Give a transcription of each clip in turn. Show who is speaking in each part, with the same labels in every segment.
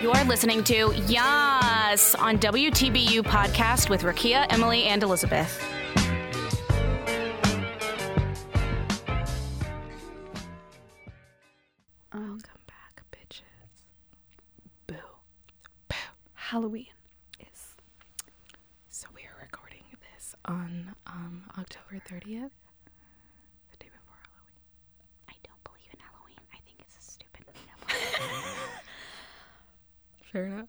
Speaker 1: You're listening to Yas on WTBU podcast with Rakia, Emily, and Elizabeth.
Speaker 2: Welcome back, bitches. Boo. Boo. Halloween is
Speaker 3: So we are recording this on um, October 30th, the day before Halloween.
Speaker 1: I don't believe in Halloween. I think it's a stupid
Speaker 3: Fair enough.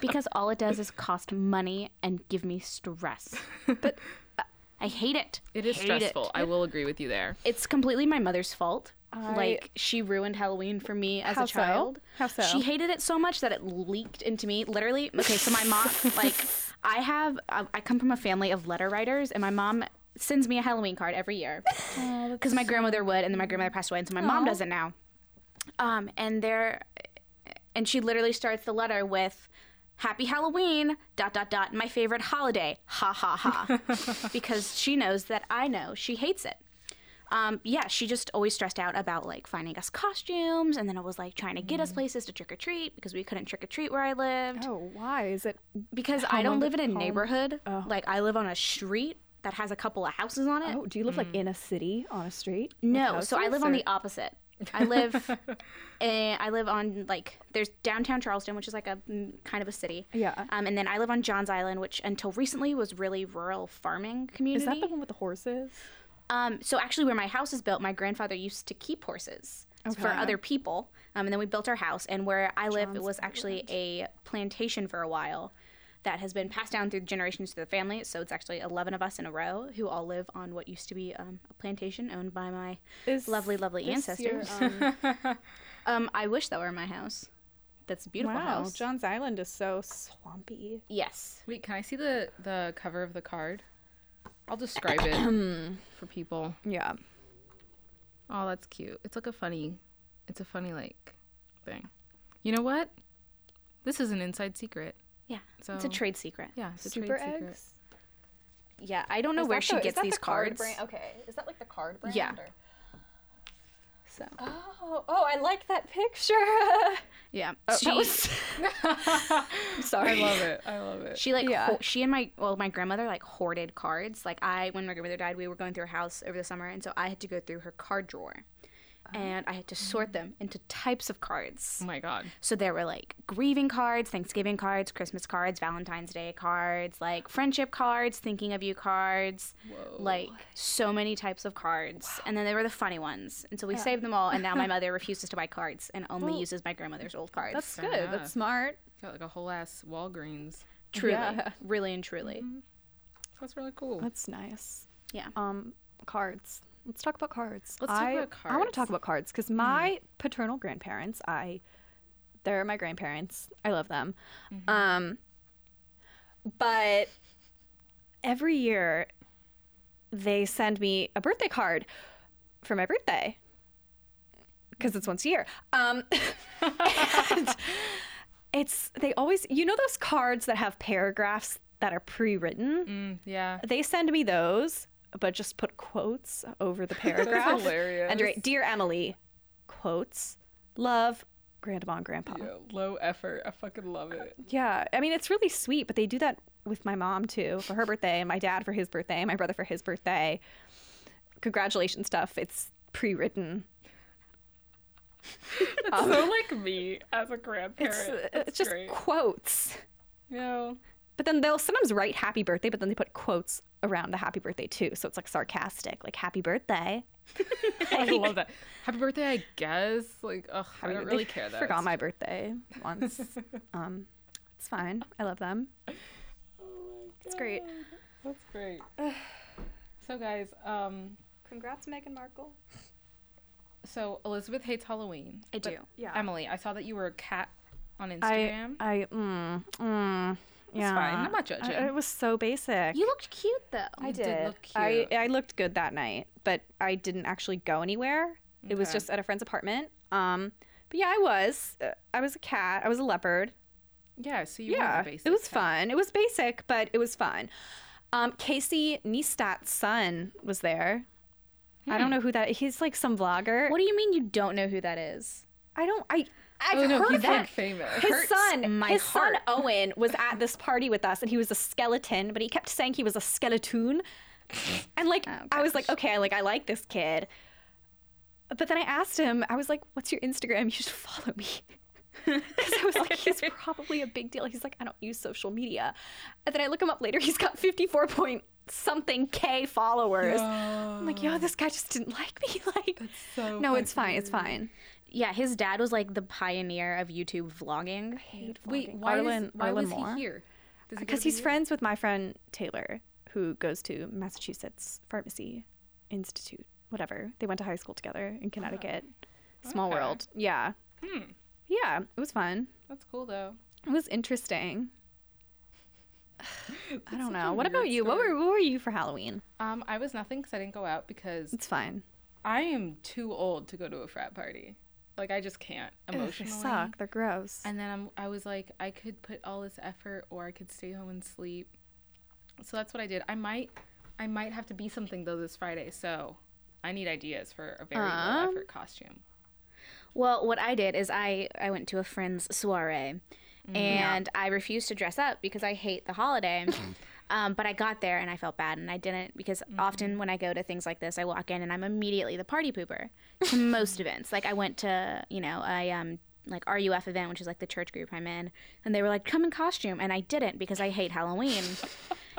Speaker 1: because all it does is cost money and give me stress. But uh, I hate it.
Speaker 3: It is
Speaker 1: Hate
Speaker 3: stressful. I will agree with you there.
Speaker 1: It's completely my mother's fault. Like she ruined Halloween for me as
Speaker 2: How
Speaker 1: a
Speaker 2: so?
Speaker 1: child.
Speaker 2: How so?
Speaker 1: She hated it so much that it leaked into me. Literally, okay. So my mom, like, I have, I I come from a family of letter writers, and my mom sends me a Halloween card every year because my grandmother would, and then my grandmother passed away, and so my mom does it now. Um, and there, and she literally starts the letter with. Happy Halloween, dot dot dot, my favorite holiday, ha ha ha. because she knows that I know she hates it um, yeah, she just always stressed out about like finding us costumes, and then it was like trying to get us places to trick or treat because we couldn't trick or treat where I lived.
Speaker 2: Mm. Oh, why is it?
Speaker 1: Because I don't live in a neighborhood. Like I live on a street that has a couple of houses on it.
Speaker 2: Oh. Oh, do you live like in a city on a street? with
Speaker 1: Mm. no, so I
Speaker 2: houses,
Speaker 1: live on
Speaker 2: or-
Speaker 1: the opposite. I live, eh, I live on like there's downtown Charleston, which is like a mm, kind of a city.
Speaker 2: Yeah.
Speaker 1: Um, and then I live on Johns Island, which until recently was really rural farming community.
Speaker 2: Is that the one with the horses?
Speaker 1: Um, so actually, where my house is built, my grandfather used to keep horses for other people, um, and then we built our house. And where I live, it was actually a plantation for a while that has been passed down through generations to the family. So it's actually eleven of us in a row who all live on what used to be um, a plantation owned by my
Speaker 2: Is
Speaker 1: lovely, lovely
Speaker 2: this your,
Speaker 1: ancestors. um, I wish that were my house. That's a beautiful
Speaker 2: Wow,
Speaker 1: house.
Speaker 2: John's Island is so swampy.
Speaker 1: yes.
Speaker 3: Wait, can I see the, the cover of the card? I'll describe it for people.
Speaker 2: Yeah.
Speaker 3: Oh, that's cute. It's like a funny, it's a funny like thing. You know what? This is an inside secret.
Speaker 1: Yeah. it's
Speaker 3: So-
Speaker 1: a trade secret.
Speaker 3: Yeah, it's a
Speaker 2: Super
Speaker 3: trade secret.
Speaker 2: eggs.
Speaker 1: Yeah. I don't know where she gets these cards.
Speaker 2: Okay, is that like the card brand?
Speaker 1: Yeah. So
Speaker 2: Oh, oh, I like that picture.
Speaker 1: yeah.
Speaker 2: that
Speaker 1: She-
Speaker 2: was. sorry.
Speaker 3: I love it. I love it.
Speaker 1: She like
Speaker 2: Yeah.
Speaker 1: ho- she and my well my grandmother like hoarded cards. Like I when my grandmother died, we were going through her house over the summer, and so I had to go through her card drawer, and I had to sort them into types of cards.
Speaker 3: Oh my god.
Speaker 1: So there were like grieving cards, Thanksgiving cards, Christmas cards, Valentine's Day cards, like friendship cards, thinking of you cards, like so many types of cards. And then there were the funny ones, and so we saved them all. And now my mother refuses to buy cards and only uses my grandmother's old cards.
Speaker 2: That's
Speaker 3: Fair
Speaker 2: good.
Speaker 3: enough.
Speaker 2: That's smart.
Speaker 3: Got like a whole ass Walgreens.
Speaker 1: truly, Mm-hmm.
Speaker 2: yeah.
Speaker 1: really and truly,
Speaker 3: That's really cool.
Speaker 2: That's nice.
Speaker 1: yeah.
Speaker 2: Um, cards. Let's talk about cards.
Speaker 3: Let's talk
Speaker 2: I,
Speaker 3: about
Speaker 2: I want
Speaker 3: cards. Mm-hmm.
Speaker 2: to talk about cards because my paternal grandparents, I, they're my grandparents. I love them.
Speaker 3: Mm-hmm.
Speaker 2: Um, but every year, they send me a birthday card for my birthday because it's once a year. Um, and it's they always you know those cards that have paragraphs that are pre-written
Speaker 3: Mm, yeah.
Speaker 2: they send me those, but just put quotes over the paragraph.
Speaker 3: hilarious.
Speaker 2: And write, dear Emily, quotes, love, grandma and grandpa. Yeah.
Speaker 3: low effort. I fucking love it.
Speaker 2: I mean it's really sweet, but they do that with my mom too for her birthday, and my dad for his birthday, and my brother for his birthday. Congratulations stuff. It's pre-written.
Speaker 3: so like me as a grandparent.
Speaker 2: It's, uh,
Speaker 3: That's
Speaker 2: it's just
Speaker 3: great.
Speaker 2: quotes.
Speaker 3: No.
Speaker 2: But then they'll sometimes write happy birthday, but then they put quotes around the happy birthday too. So it's like sarcastic, like happy birthday.
Speaker 3: I love that. Happy birthday, I guess. Like, ugh, I, don't
Speaker 2: mean,
Speaker 3: really
Speaker 2: they
Speaker 3: care though.
Speaker 2: Forgot my birthday once. um, it's fine. I love them. It's great.
Speaker 3: That's great. so guys, um,
Speaker 2: Congrats, Meghan Markle.
Speaker 3: so Elizabeth hates Halloween.
Speaker 1: I
Speaker 3: but
Speaker 1: do.
Speaker 2: Yeah.
Speaker 3: Emily, I saw that you were a cat on
Speaker 2: I,
Speaker 3: Instagram.
Speaker 2: I, mm, mm, yeah.
Speaker 3: fine. I'm not
Speaker 2: I-
Speaker 3: judging.
Speaker 2: it was so basic.
Speaker 1: You looked cute though.
Speaker 2: I
Speaker 3: did look
Speaker 2: I,
Speaker 3: cute.
Speaker 2: I looked good that night, but I didn't actually go anywhere. It was
Speaker 3: Okay.
Speaker 2: just at a friend's apartment. Um, but yeah, I was. Uh, I was a cat. I was a leopard.
Speaker 3: yeah. So you
Speaker 2: yeah,
Speaker 3: were the basic
Speaker 2: it was
Speaker 3: cat.
Speaker 2: fun. It was basic, but it was fun. Um, Casey Neistat's son was there.
Speaker 3: Hmm.
Speaker 2: I don't know who that. He's like some vlogger.
Speaker 1: What do you mean you don't know who that is?
Speaker 2: I don't. I I've
Speaker 3: Oh no,
Speaker 2: heard
Speaker 3: he's
Speaker 2: of him.
Speaker 3: like famous.
Speaker 2: His
Speaker 1: hurts
Speaker 2: son,
Speaker 1: my
Speaker 2: his son
Speaker 1: heart.
Speaker 2: Owen, was at this party with us, and he was a skeleton, but he kept saying he was a skeletoon. And like,
Speaker 1: Oh,
Speaker 2: I was like, okay, like I like this kid. But then I asked him, I was like, what's your Instagram? You should follow me. Because I was like, he's probably a big deal. He's like, I don't use social media. And then I look him up later. He's got 54 point something K followers. I'm like, yo, this guy just didn't like me. Like,
Speaker 3: Oh, so
Speaker 2: no, it's fine. It's fine.
Speaker 1: Yeah, his dad was like the pioneer of YouTube vlogging.
Speaker 3: Wait, why,
Speaker 2: Arlen-
Speaker 3: is, why
Speaker 2: Arlen
Speaker 3: was
Speaker 2: Moore.
Speaker 3: he here? Does he go
Speaker 2: because
Speaker 3: to
Speaker 2: he's
Speaker 3: you?
Speaker 2: friends with my friend Taylor, who goes to Massachusetts Pharmacy Institute, whatever. They went to high school together in Connecticut. Small
Speaker 3: okay.
Speaker 2: world. Yeah.
Speaker 3: Hmm.
Speaker 2: Yeah, it was fun.
Speaker 3: That's cool though.
Speaker 2: It was interesting. I don't
Speaker 3: such
Speaker 2: know.
Speaker 3: a
Speaker 2: What about
Speaker 3: weird
Speaker 2: you? What
Speaker 3: story.
Speaker 2: were what were you for Halloween?
Speaker 3: Um, I was nothing because I didn't go out because
Speaker 2: It's fine.
Speaker 3: I am too old to go to a frat party. Like I just can't
Speaker 2: They
Speaker 3: emotionally.
Speaker 2: suck. They're gross.
Speaker 3: And then I'm, I was like, I could put all this effort, or I could stay home and sleep. So that's what I did. I might, I might have to be something though this Friday. So I need ideas for a very
Speaker 2: Um.
Speaker 3: low effort costume.
Speaker 1: Well, what I did is I I went to a friend's soiree, and I refused to dress up because I hate the holiday. um, but I got there and I felt bad, and I didn't because often when I go to things like this, I walk in and I'm immediately the party pooper to most events. Like I went to you know I um like RUF event, which is like the church group I'm in, and they were like come in costume, and I didn't because I hate Halloween.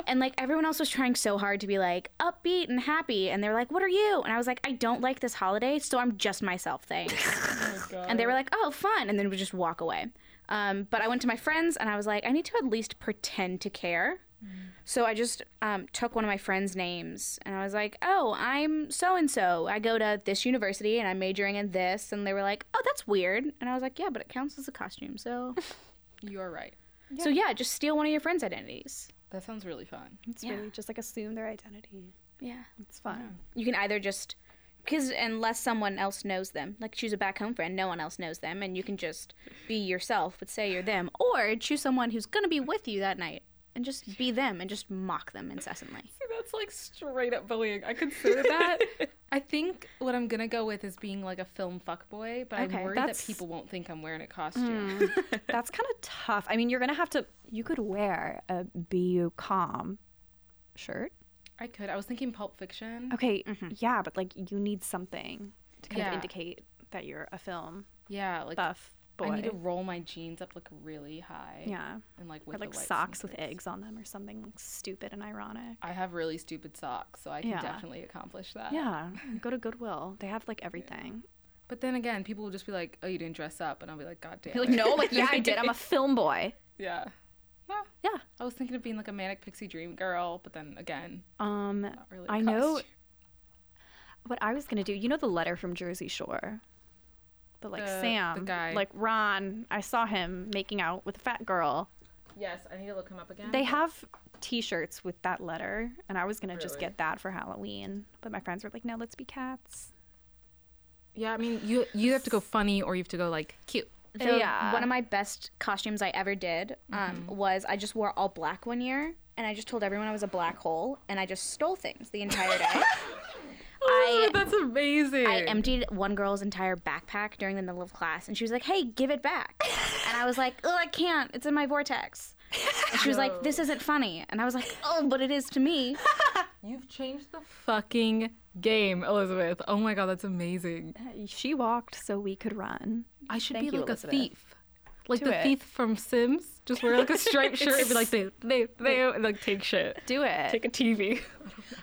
Speaker 1: And like everyone else was trying so hard to be like upbeat and happy, and they were like, "What are you?" And I was like, "I don't like this holiday, so I'm just myself." Thanks. And they were like, "Oh, fun," and then would just walk away. Um, but I went to my friends and I was like, "I need to at least pretend to care." So I just um, took one of my friends' names and I was like, "Oh, I'm so and so. I go to this university and I'm majoring in this." And they were like, "Oh, that's weird." And I was like, "Yeah, but it counts as a costume." So,
Speaker 3: You're right.
Speaker 1: so yeah, just steal one of your friends' identities.
Speaker 3: That sounds really fun.
Speaker 2: it's
Speaker 1: yeah.
Speaker 2: really just like assume their identity.
Speaker 1: Yeah,
Speaker 2: It's fun.
Speaker 1: you can either just because unless someone else knows them, like choose a back home friend, no one else knows them, and you can just be yourself, but say you're them, or choose someone who's gonna be with you that night and just be them and just mock them incessantly.
Speaker 3: See, that's like straight up bullying. I consider that. I think what I'm gonna go with is being like a film fuckboy, but
Speaker 1: Okay,
Speaker 3: I'm worried
Speaker 2: that's-
Speaker 3: that people won't think I'm wearing a costume.
Speaker 2: That's kind of tough. I mean, you're gonna have to. You could wear a BU com shirt.
Speaker 3: I could. I was thinking Pulp Fiction.
Speaker 2: Okay, yeah, but like you need something to kind of
Speaker 3: Yeah.
Speaker 2: indicate that you're a film
Speaker 3: Yeah, like
Speaker 2: buff boy.
Speaker 3: I need to roll my jeans up like really high.
Speaker 2: yeah,
Speaker 3: and like
Speaker 2: or
Speaker 3: with the
Speaker 2: like
Speaker 3: white
Speaker 2: socks with
Speaker 3: sneakers.
Speaker 2: eggs on them or something like stupid and ironic.
Speaker 3: I have really stupid socks, so I can
Speaker 2: Yeah.
Speaker 3: definitely accomplish that.
Speaker 2: Yeah, go to Goodwill. They have like everything.
Speaker 3: But then again, people will just be like, "Oh, you didn't dress up," and I'll be like, "God damn!"
Speaker 2: You're
Speaker 3: it."
Speaker 2: like, no, like yeah, I did. I'm a film boy.
Speaker 3: yeah. Yeah.
Speaker 2: Yeah.
Speaker 3: I was thinking of being like a manic pixie dream girl, but then again,
Speaker 2: Um,
Speaker 3: not really. a
Speaker 2: I know
Speaker 3: costume.
Speaker 2: what I was gonna do. You know the letter from Jersey Shore. But like
Speaker 3: The- the
Speaker 2: Sam,
Speaker 3: guy.
Speaker 2: like Ron, I saw him making out with a fat girl.
Speaker 3: Yes, I need to look him up again.
Speaker 2: They have T-shirts with that letter, and I was gonna just
Speaker 3: Really?
Speaker 2: get that for Halloween, but my friends were like, "No, let's be cats."
Speaker 3: yeah, I mean, you you have to go funny or you have to go like cute.
Speaker 1: The,
Speaker 2: Yeah.
Speaker 1: One of my best costumes I ever did um, was I just wore all black one year, and I just told everyone I was a black hole, and I just stole things the entire day. I
Speaker 3: Ah, that's amazing.
Speaker 1: I emptied one girl's entire backpack during the middle of class, and she was like, "Hey, give it back," and I was like, "Oh, I can't. It's in my vortex." And she was like, "This isn't funny," and I was like, "Oh, but it is to me."
Speaker 3: You've changed the fucking game, Elizabeth. Oh my god, that's amazing.
Speaker 2: She walked so we could run.
Speaker 3: I should
Speaker 2: Thank
Speaker 3: be
Speaker 2: you,
Speaker 3: like
Speaker 2: Elizabeth.
Speaker 3: a thief. Like the
Speaker 2: it.
Speaker 3: thief from Sims. Just wear like a striped shirt and be like, they, they, they, and like take shit.
Speaker 2: Do it.
Speaker 3: Take a TV.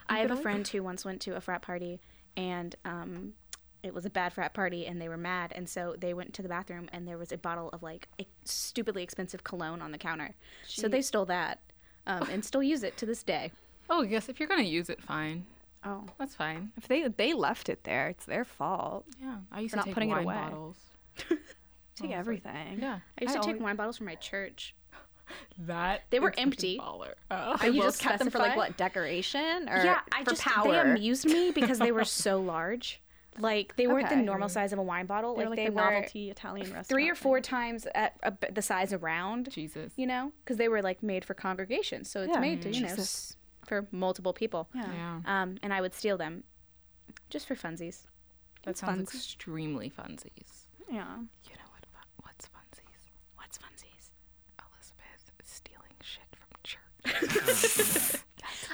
Speaker 1: I have a friend who once went to a frat party, and um, it was a bad frat party, and they were mad, and so they went to the bathroom, and there was a bottle of like a stupidly expensive cologne on the counter, so they stole that, um, and still use it to this day.
Speaker 3: Oh, yes, if you're going to use it, fine.
Speaker 2: oh,
Speaker 3: That's fine.
Speaker 2: if they they left it there, it's their fault.
Speaker 3: Yeah. I used
Speaker 2: We're not
Speaker 3: to take
Speaker 2: putting it
Speaker 3: wine
Speaker 2: away.
Speaker 3: bottles.
Speaker 2: Take everything.
Speaker 3: Yeah.
Speaker 1: I used to
Speaker 2: I
Speaker 1: take
Speaker 2: always-
Speaker 1: wine bottles from my church.
Speaker 3: That.
Speaker 1: They were
Speaker 3: is fucking
Speaker 1: empty.
Speaker 3: Baller. Oh.
Speaker 2: But you
Speaker 1: will
Speaker 2: just kept them for like
Speaker 1: specify-
Speaker 2: what decoration or
Speaker 1: yeah, I
Speaker 2: for
Speaker 1: just
Speaker 2: power?
Speaker 1: they amused me because they were so large. Like they weren't
Speaker 2: Okay.
Speaker 1: the normal size of a wine bottle.
Speaker 2: They're
Speaker 1: like,
Speaker 2: like
Speaker 1: they
Speaker 2: the
Speaker 1: were
Speaker 2: novelty Italian restaurant.
Speaker 1: three or
Speaker 2: thing.
Speaker 1: four times at a, the size around.
Speaker 3: Jesus.
Speaker 1: You know, because they were like made for congregations, so it's
Speaker 2: Yeah.
Speaker 1: made to you know
Speaker 2: Jesus.
Speaker 1: s- for multiple people.
Speaker 2: Yeah.
Speaker 3: Yeah.
Speaker 1: Um, and I would steal them, just for funsies.
Speaker 3: That sounds
Speaker 2: funsies.
Speaker 3: extremely funsies.
Speaker 2: Yeah.
Speaker 3: You know what? What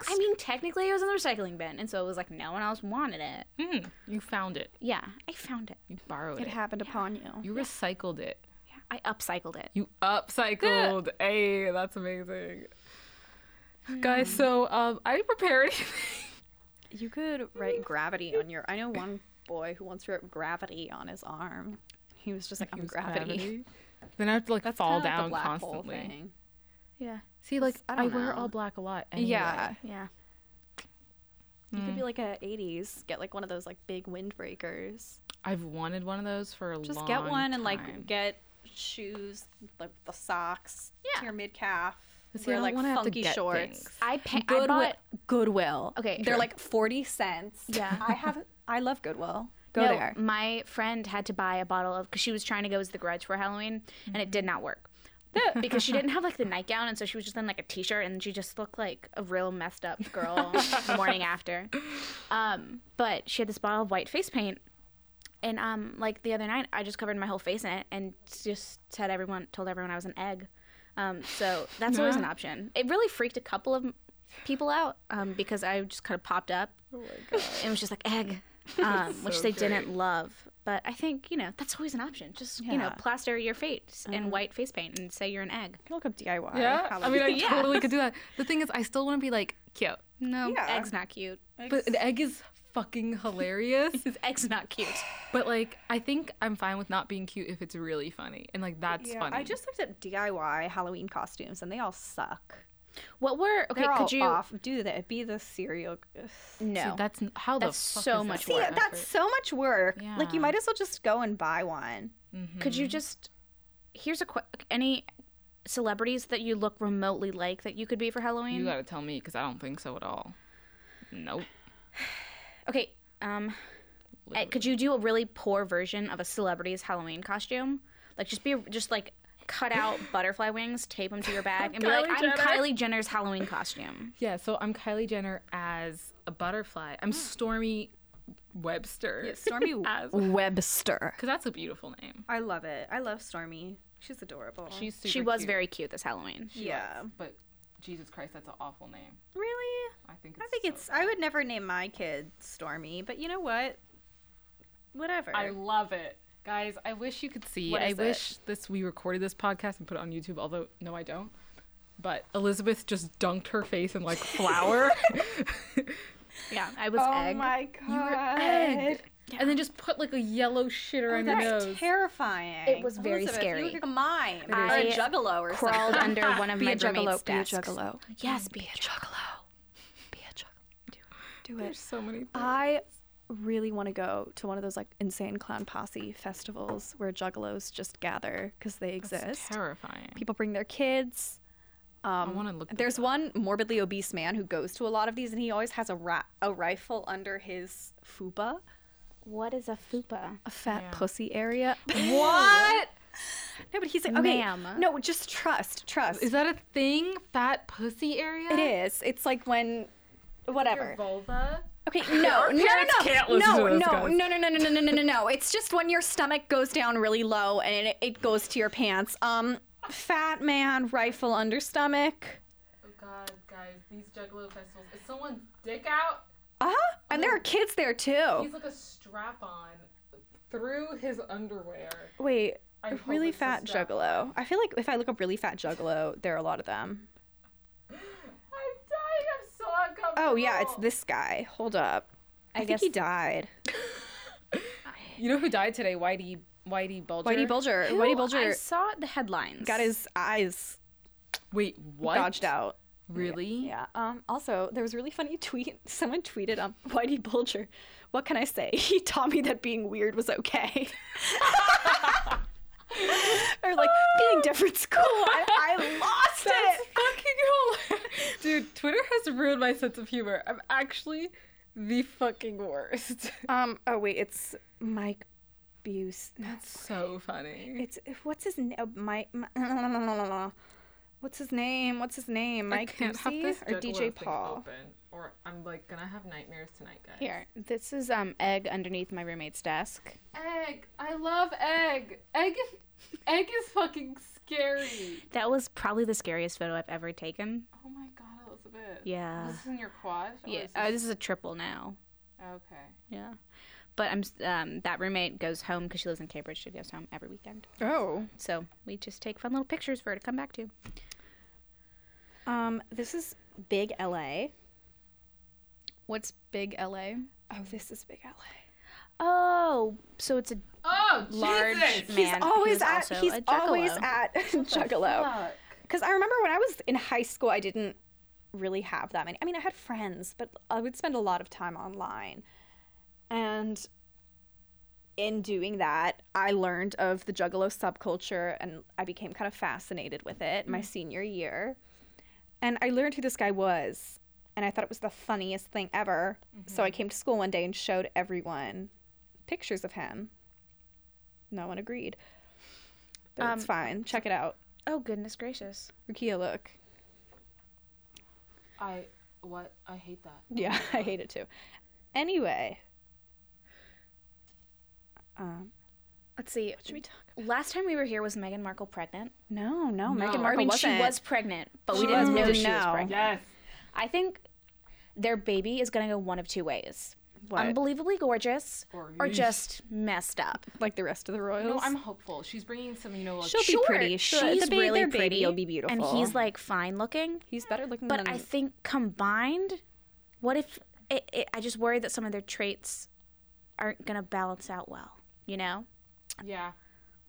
Speaker 1: I mean, technically it was in the recycling bin, and so it was like no one else wanted it.
Speaker 3: Mm, you found it.
Speaker 1: Yeah, I found it.
Speaker 3: You borrowed it.
Speaker 2: It happened upon you.
Speaker 3: you recycled it.
Speaker 1: Yeah, I upcycled it.
Speaker 3: You upcycled. hey, that's amazing. Guys, so um, I didn't prepare anything.
Speaker 2: Hmm. You could write gravity on your. I know one boy who once wrote gravity on his arm. He was just like, I'm
Speaker 3: Use
Speaker 2: gravity.
Speaker 3: Then I have to like fall
Speaker 2: Kinda like the
Speaker 3: down
Speaker 2: black hole
Speaker 3: constantly.
Speaker 2: thing.
Speaker 1: Yeah,
Speaker 3: See, like
Speaker 2: I
Speaker 3: I,
Speaker 2: don't
Speaker 3: wear
Speaker 2: know.
Speaker 3: all black a lot. Anyway.
Speaker 2: Yeah.
Speaker 1: yeah.
Speaker 2: You could be like a 80s, get like one of those like big windbreakers.
Speaker 3: I've wanted one of those for a long.
Speaker 2: Just get one
Speaker 3: time.
Speaker 2: and like get shoes, like the socks
Speaker 1: Yeah.
Speaker 2: to your mid calf.
Speaker 3: But see, I
Speaker 2: Wear
Speaker 3: don't
Speaker 2: like
Speaker 3: wanna have to
Speaker 2: funky
Speaker 3: get
Speaker 2: shorts.
Speaker 3: things.
Speaker 1: I pa- I
Speaker 2: Goodwill.
Speaker 1: bought.
Speaker 2: Goodwill.
Speaker 1: Okay,
Speaker 2: They're
Speaker 1: sure.
Speaker 2: like 40 cents.
Speaker 1: Yeah.
Speaker 2: I have I love Goodwill. Go
Speaker 1: no,
Speaker 2: there.
Speaker 1: My friend had to buy a bottle of because she was trying to go as the Grudge for Halloween, and it
Speaker 2: Mm-hmm.
Speaker 1: did not work. because she didn't have like the nightgown, and so she was just in like a t-shirt, and she just looked like a real messed up girl the morning after. Um, but she had this bottle of white face paint, and um, like the other night, I just covered my whole face in it, and just said everyone told everyone I was an egg. Um, so that's always an option. It really freaked a couple of people out um, because I just kind of popped up. And it was just like egg, um, which they didn't love. But I think you know that's always an option. Just you know
Speaker 2: Yeah.
Speaker 1: plaster your face in white face paint and say you're an egg.
Speaker 2: You can look up DIY.
Speaker 3: Yeah, I
Speaker 2: Halloween.
Speaker 3: mean, I
Speaker 1: Yeah.
Speaker 3: totally could do that. The thing is, I still want to be like cute.
Speaker 1: Oh.
Speaker 3: No,
Speaker 2: Yeah.
Speaker 1: Egg's not cute.
Speaker 3: but an egg is fucking hilarious.
Speaker 1: Egg's not cute.
Speaker 3: but like, I think I'm fine with not being cute if it's really funny, and like that's
Speaker 2: Yeah,
Speaker 3: funny.
Speaker 2: I just looked up DIY Halloween costumes and they all suck.
Speaker 1: What were okay?
Speaker 2: They're all
Speaker 1: Could you?
Speaker 2: off. Do that. Be the cereal.
Speaker 3: See,
Speaker 1: No.
Speaker 3: that's n- how
Speaker 1: That's
Speaker 3: the fuck
Speaker 1: so
Speaker 3: is
Speaker 1: much
Speaker 2: See,
Speaker 1: work.
Speaker 3: that
Speaker 2: that's so much work. Like
Speaker 3: Yeah.
Speaker 2: you might as well just go and buy one.
Speaker 3: Mm-hmm.
Speaker 1: Could you just? Here's a quick. Any celebrities that you look remotely like that you could be for Halloween?
Speaker 3: You gotta tell me because I don't think so at all. Nope.
Speaker 1: okay. Um, eh, could you do a really poor version of a celebrity's Halloween costume? Like just be just like cut out butterfly wings, tape them to your bag, and be like,
Speaker 3: Kylie
Speaker 1: "I'm
Speaker 3: Jenner.
Speaker 1: Kylie Jenner's Halloween costume."
Speaker 3: Yeah, so I'm Kylie Jenner as a butterfly. I'm Stormy Webster.
Speaker 2: Stormy
Speaker 3: as because
Speaker 2: Webster.
Speaker 3: that's a beautiful name.
Speaker 2: I love it. I love Stormy. She's adorable.
Speaker 3: She's super
Speaker 1: she was
Speaker 3: cute.
Speaker 1: very cute this Halloween.
Speaker 3: She was.
Speaker 2: Yeah.
Speaker 3: but Jesus Christ, that's an awful name.
Speaker 2: really.
Speaker 3: I think it's
Speaker 2: I think
Speaker 3: so-
Speaker 2: it's. I would never name my kid Stormy, but you know what? Whatever.
Speaker 3: I love it. Guys, I wish you could see.
Speaker 2: What
Speaker 3: I
Speaker 2: is it?
Speaker 3: wish this we recorded this podcast and put it on YouTube, although no I don't. But Elizabeth just dunked her face in like flour.
Speaker 1: Yeah, I was
Speaker 4: Oh
Speaker 1: egg.
Speaker 2: my god.
Speaker 3: Egg. And then just put like a yellow shit around your
Speaker 2: That's
Speaker 3: nose.
Speaker 2: terrifying.
Speaker 1: It was very
Speaker 2: Elizabeth,
Speaker 1: scary.
Speaker 2: You look like a mime or
Speaker 1: It
Speaker 2: a
Speaker 1: is.
Speaker 2: juggalo or
Speaker 1: crawled
Speaker 2: something.
Speaker 1: under one of
Speaker 4: Be
Speaker 1: my
Speaker 4: a juggalo.
Speaker 1: roommate's
Speaker 4: Be a
Speaker 1: desks.
Speaker 4: juggalo.
Speaker 1: Yes, be a juggalo.
Speaker 4: Be a juggalo. Do it.
Speaker 3: There's so many things.
Speaker 4: I really want to go to one of those like insane clown posse festivals where juggalos just gather because they
Speaker 3: That's
Speaker 4: exist.
Speaker 3: terrifying.
Speaker 4: People bring their kids. Um,
Speaker 3: I wanna look
Speaker 2: There's one morbidly obese man who goes to a lot of these, and he always has a ra- a rifle under his fupa,
Speaker 1: What is a fupa?
Speaker 4: a fat pussy area.
Speaker 2: What? No, but he's like, okay,
Speaker 1: Ma'am.
Speaker 2: no, just trust, trust.
Speaker 3: Is that a thing? Fat pussy area?
Speaker 2: it is. It's like when, whatever.
Speaker 3: Vulva?
Speaker 2: Okay, no, no, no,
Speaker 3: parents
Speaker 2: no,
Speaker 3: can't
Speaker 2: no,
Speaker 3: listen to
Speaker 2: no,
Speaker 3: this,
Speaker 2: no,
Speaker 3: guys.
Speaker 2: no, no, no, no, no, no, no, no. It's just when your stomach goes down really low and it, it goes to your pants. Um, fat man, rifle under stomach.
Speaker 3: Oh god, guys, these juggalo festivals. Is someone's dick out?
Speaker 2: Uh huh. And there are kids there too.
Speaker 3: He's like a strap on through his underwear.
Speaker 2: Wait,
Speaker 3: I hope
Speaker 2: really
Speaker 3: it's a
Speaker 2: fat
Speaker 3: strap.
Speaker 2: juggalo. I feel like if I look up really fat juggalo, there are a lot of them.
Speaker 3: I'm dying. I'm so uncomfortable.
Speaker 2: Oh yeah, it's this guy. Hold up. I, think he died.
Speaker 3: You know who died today? Whitey. Whitey Bulger.
Speaker 2: Whitey Bulger.
Speaker 1: Who-
Speaker 2: Whitey Bulger
Speaker 1: I saw the headlines.
Speaker 2: got his eyes
Speaker 3: Wait, what?
Speaker 2: dodged out.
Speaker 3: Really?
Speaker 2: Yeah. Um, also, there was a really funny tweet. Someone tweeted on Whitey Bulger, "What can I say? He taught me that being weird was okay." or like being different's cool. I, I lost
Speaker 3: That's
Speaker 2: it.
Speaker 3: fucking hilarious. Dude, Twitter has ruined my sense of humor. I'm actually the fucking worst.
Speaker 2: Um. Oh wait, it's Mike Buse. No,
Speaker 3: That's so funny.
Speaker 2: it's what's his name? Mike. oh, What's his name? What's his name? Mike Busey or
Speaker 3: Juggalo
Speaker 2: DJ
Speaker 3: thing
Speaker 2: Paul?
Speaker 3: open, or I'm like gonna have nightmares tonight, guys.
Speaker 1: Here, this is um egg underneath my roommate's desk.
Speaker 3: Egg. I love egg. Egg. is- Egg is fucking scary.
Speaker 1: That was probably the scariest photo I've ever taken.
Speaker 3: Oh my god, Elizabeth.
Speaker 1: Yeah.
Speaker 3: This is in your quad. or
Speaker 1: Yeah,
Speaker 3: is
Speaker 1: uh,
Speaker 3: this-
Speaker 1: this is a triple now.
Speaker 3: Okay.
Speaker 1: Yeah, but I'm s- um that roommate goes home because she lives in Cambridge. She goes home every weekend,
Speaker 2: Oh.
Speaker 1: so we just take fun little pictures for her to come back to.
Speaker 2: Um, this is Big LA.
Speaker 1: What's big LA?
Speaker 2: Oh, this is Big LA.
Speaker 1: Oh, so it's a
Speaker 3: Oh,
Speaker 1: large
Speaker 3: Jesus!
Speaker 1: man.
Speaker 2: he's always
Speaker 1: who's
Speaker 2: at
Speaker 1: also
Speaker 2: he's
Speaker 1: a
Speaker 2: always
Speaker 1: juggalo.
Speaker 2: at Juggalo.
Speaker 3: Fuck.
Speaker 2: Because I remember when I was in high school, I didn't really have that many. I mean, I had friends, but I would spend a lot of time online. And in doing that, I learned of the Juggalo subculture and I became kind of fascinated with it
Speaker 1: Mm.
Speaker 2: my senior year. And I learned who this guy was. And I thought it was the funniest thing ever. So
Speaker 1: Mm-hmm.
Speaker 2: I came to school one day and showed everyone pictures of him. No one agreed. But it's
Speaker 1: Um,
Speaker 2: fine. Check it out.
Speaker 1: Oh goodness gracious!
Speaker 2: Rukia, look.
Speaker 3: I what? I hate that.
Speaker 2: Yeah, I hate it too. Anyway, um,
Speaker 1: Let's see.
Speaker 2: should we talk?
Speaker 1: Last time we were here was Meghan Markle pregnant.
Speaker 2: No, no,
Speaker 3: No.
Speaker 2: Meghan
Speaker 3: I
Speaker 2: Markle
Speaker 1: I mean,
Speaker 2: wasn't.
Speaker 1: she was pregnant, but we
Speaker 2: She
Speaker 1: didn't
Speaker 2: was,
Speaker 1: know
Speaker 2: we
Speaker 1: she
Speaker 2: didn't
Speaker 1: was
Speaker 2: know.
Speaker 1: pregnant.
Speaker 3: Yes.
Speaker 1: I think their baby is going to go one of two ways:
Speaker 2: What?
Speaker 1: unbelievably gorgeous,
Speaker 3: Or
Speaker 1: or
Speaker 3: yeesh.
Speaker 1: just messed up.
Speaker 2: like the rest of the royals.
Speaker 3: No, I'm hopeful. She's bringing some, you know, like
Speaker 2: She'll be pretty. She'll,
Speaker 1: She's
Speaker 2: the ba-
Speaker 1: really
Speaker 2: their
Speaker 1: pretty.
Speaker 2: baby will be beautiful.
Speaker 1: and he's like fine looking.
Speaker 2: he's better looking
Speaker 1: But
Speaker 2: than
Speaker 1: I think combined, what if it, it, I just worry that some of their traits aren't going to balance out well? You know,
Speaker 3: yeah.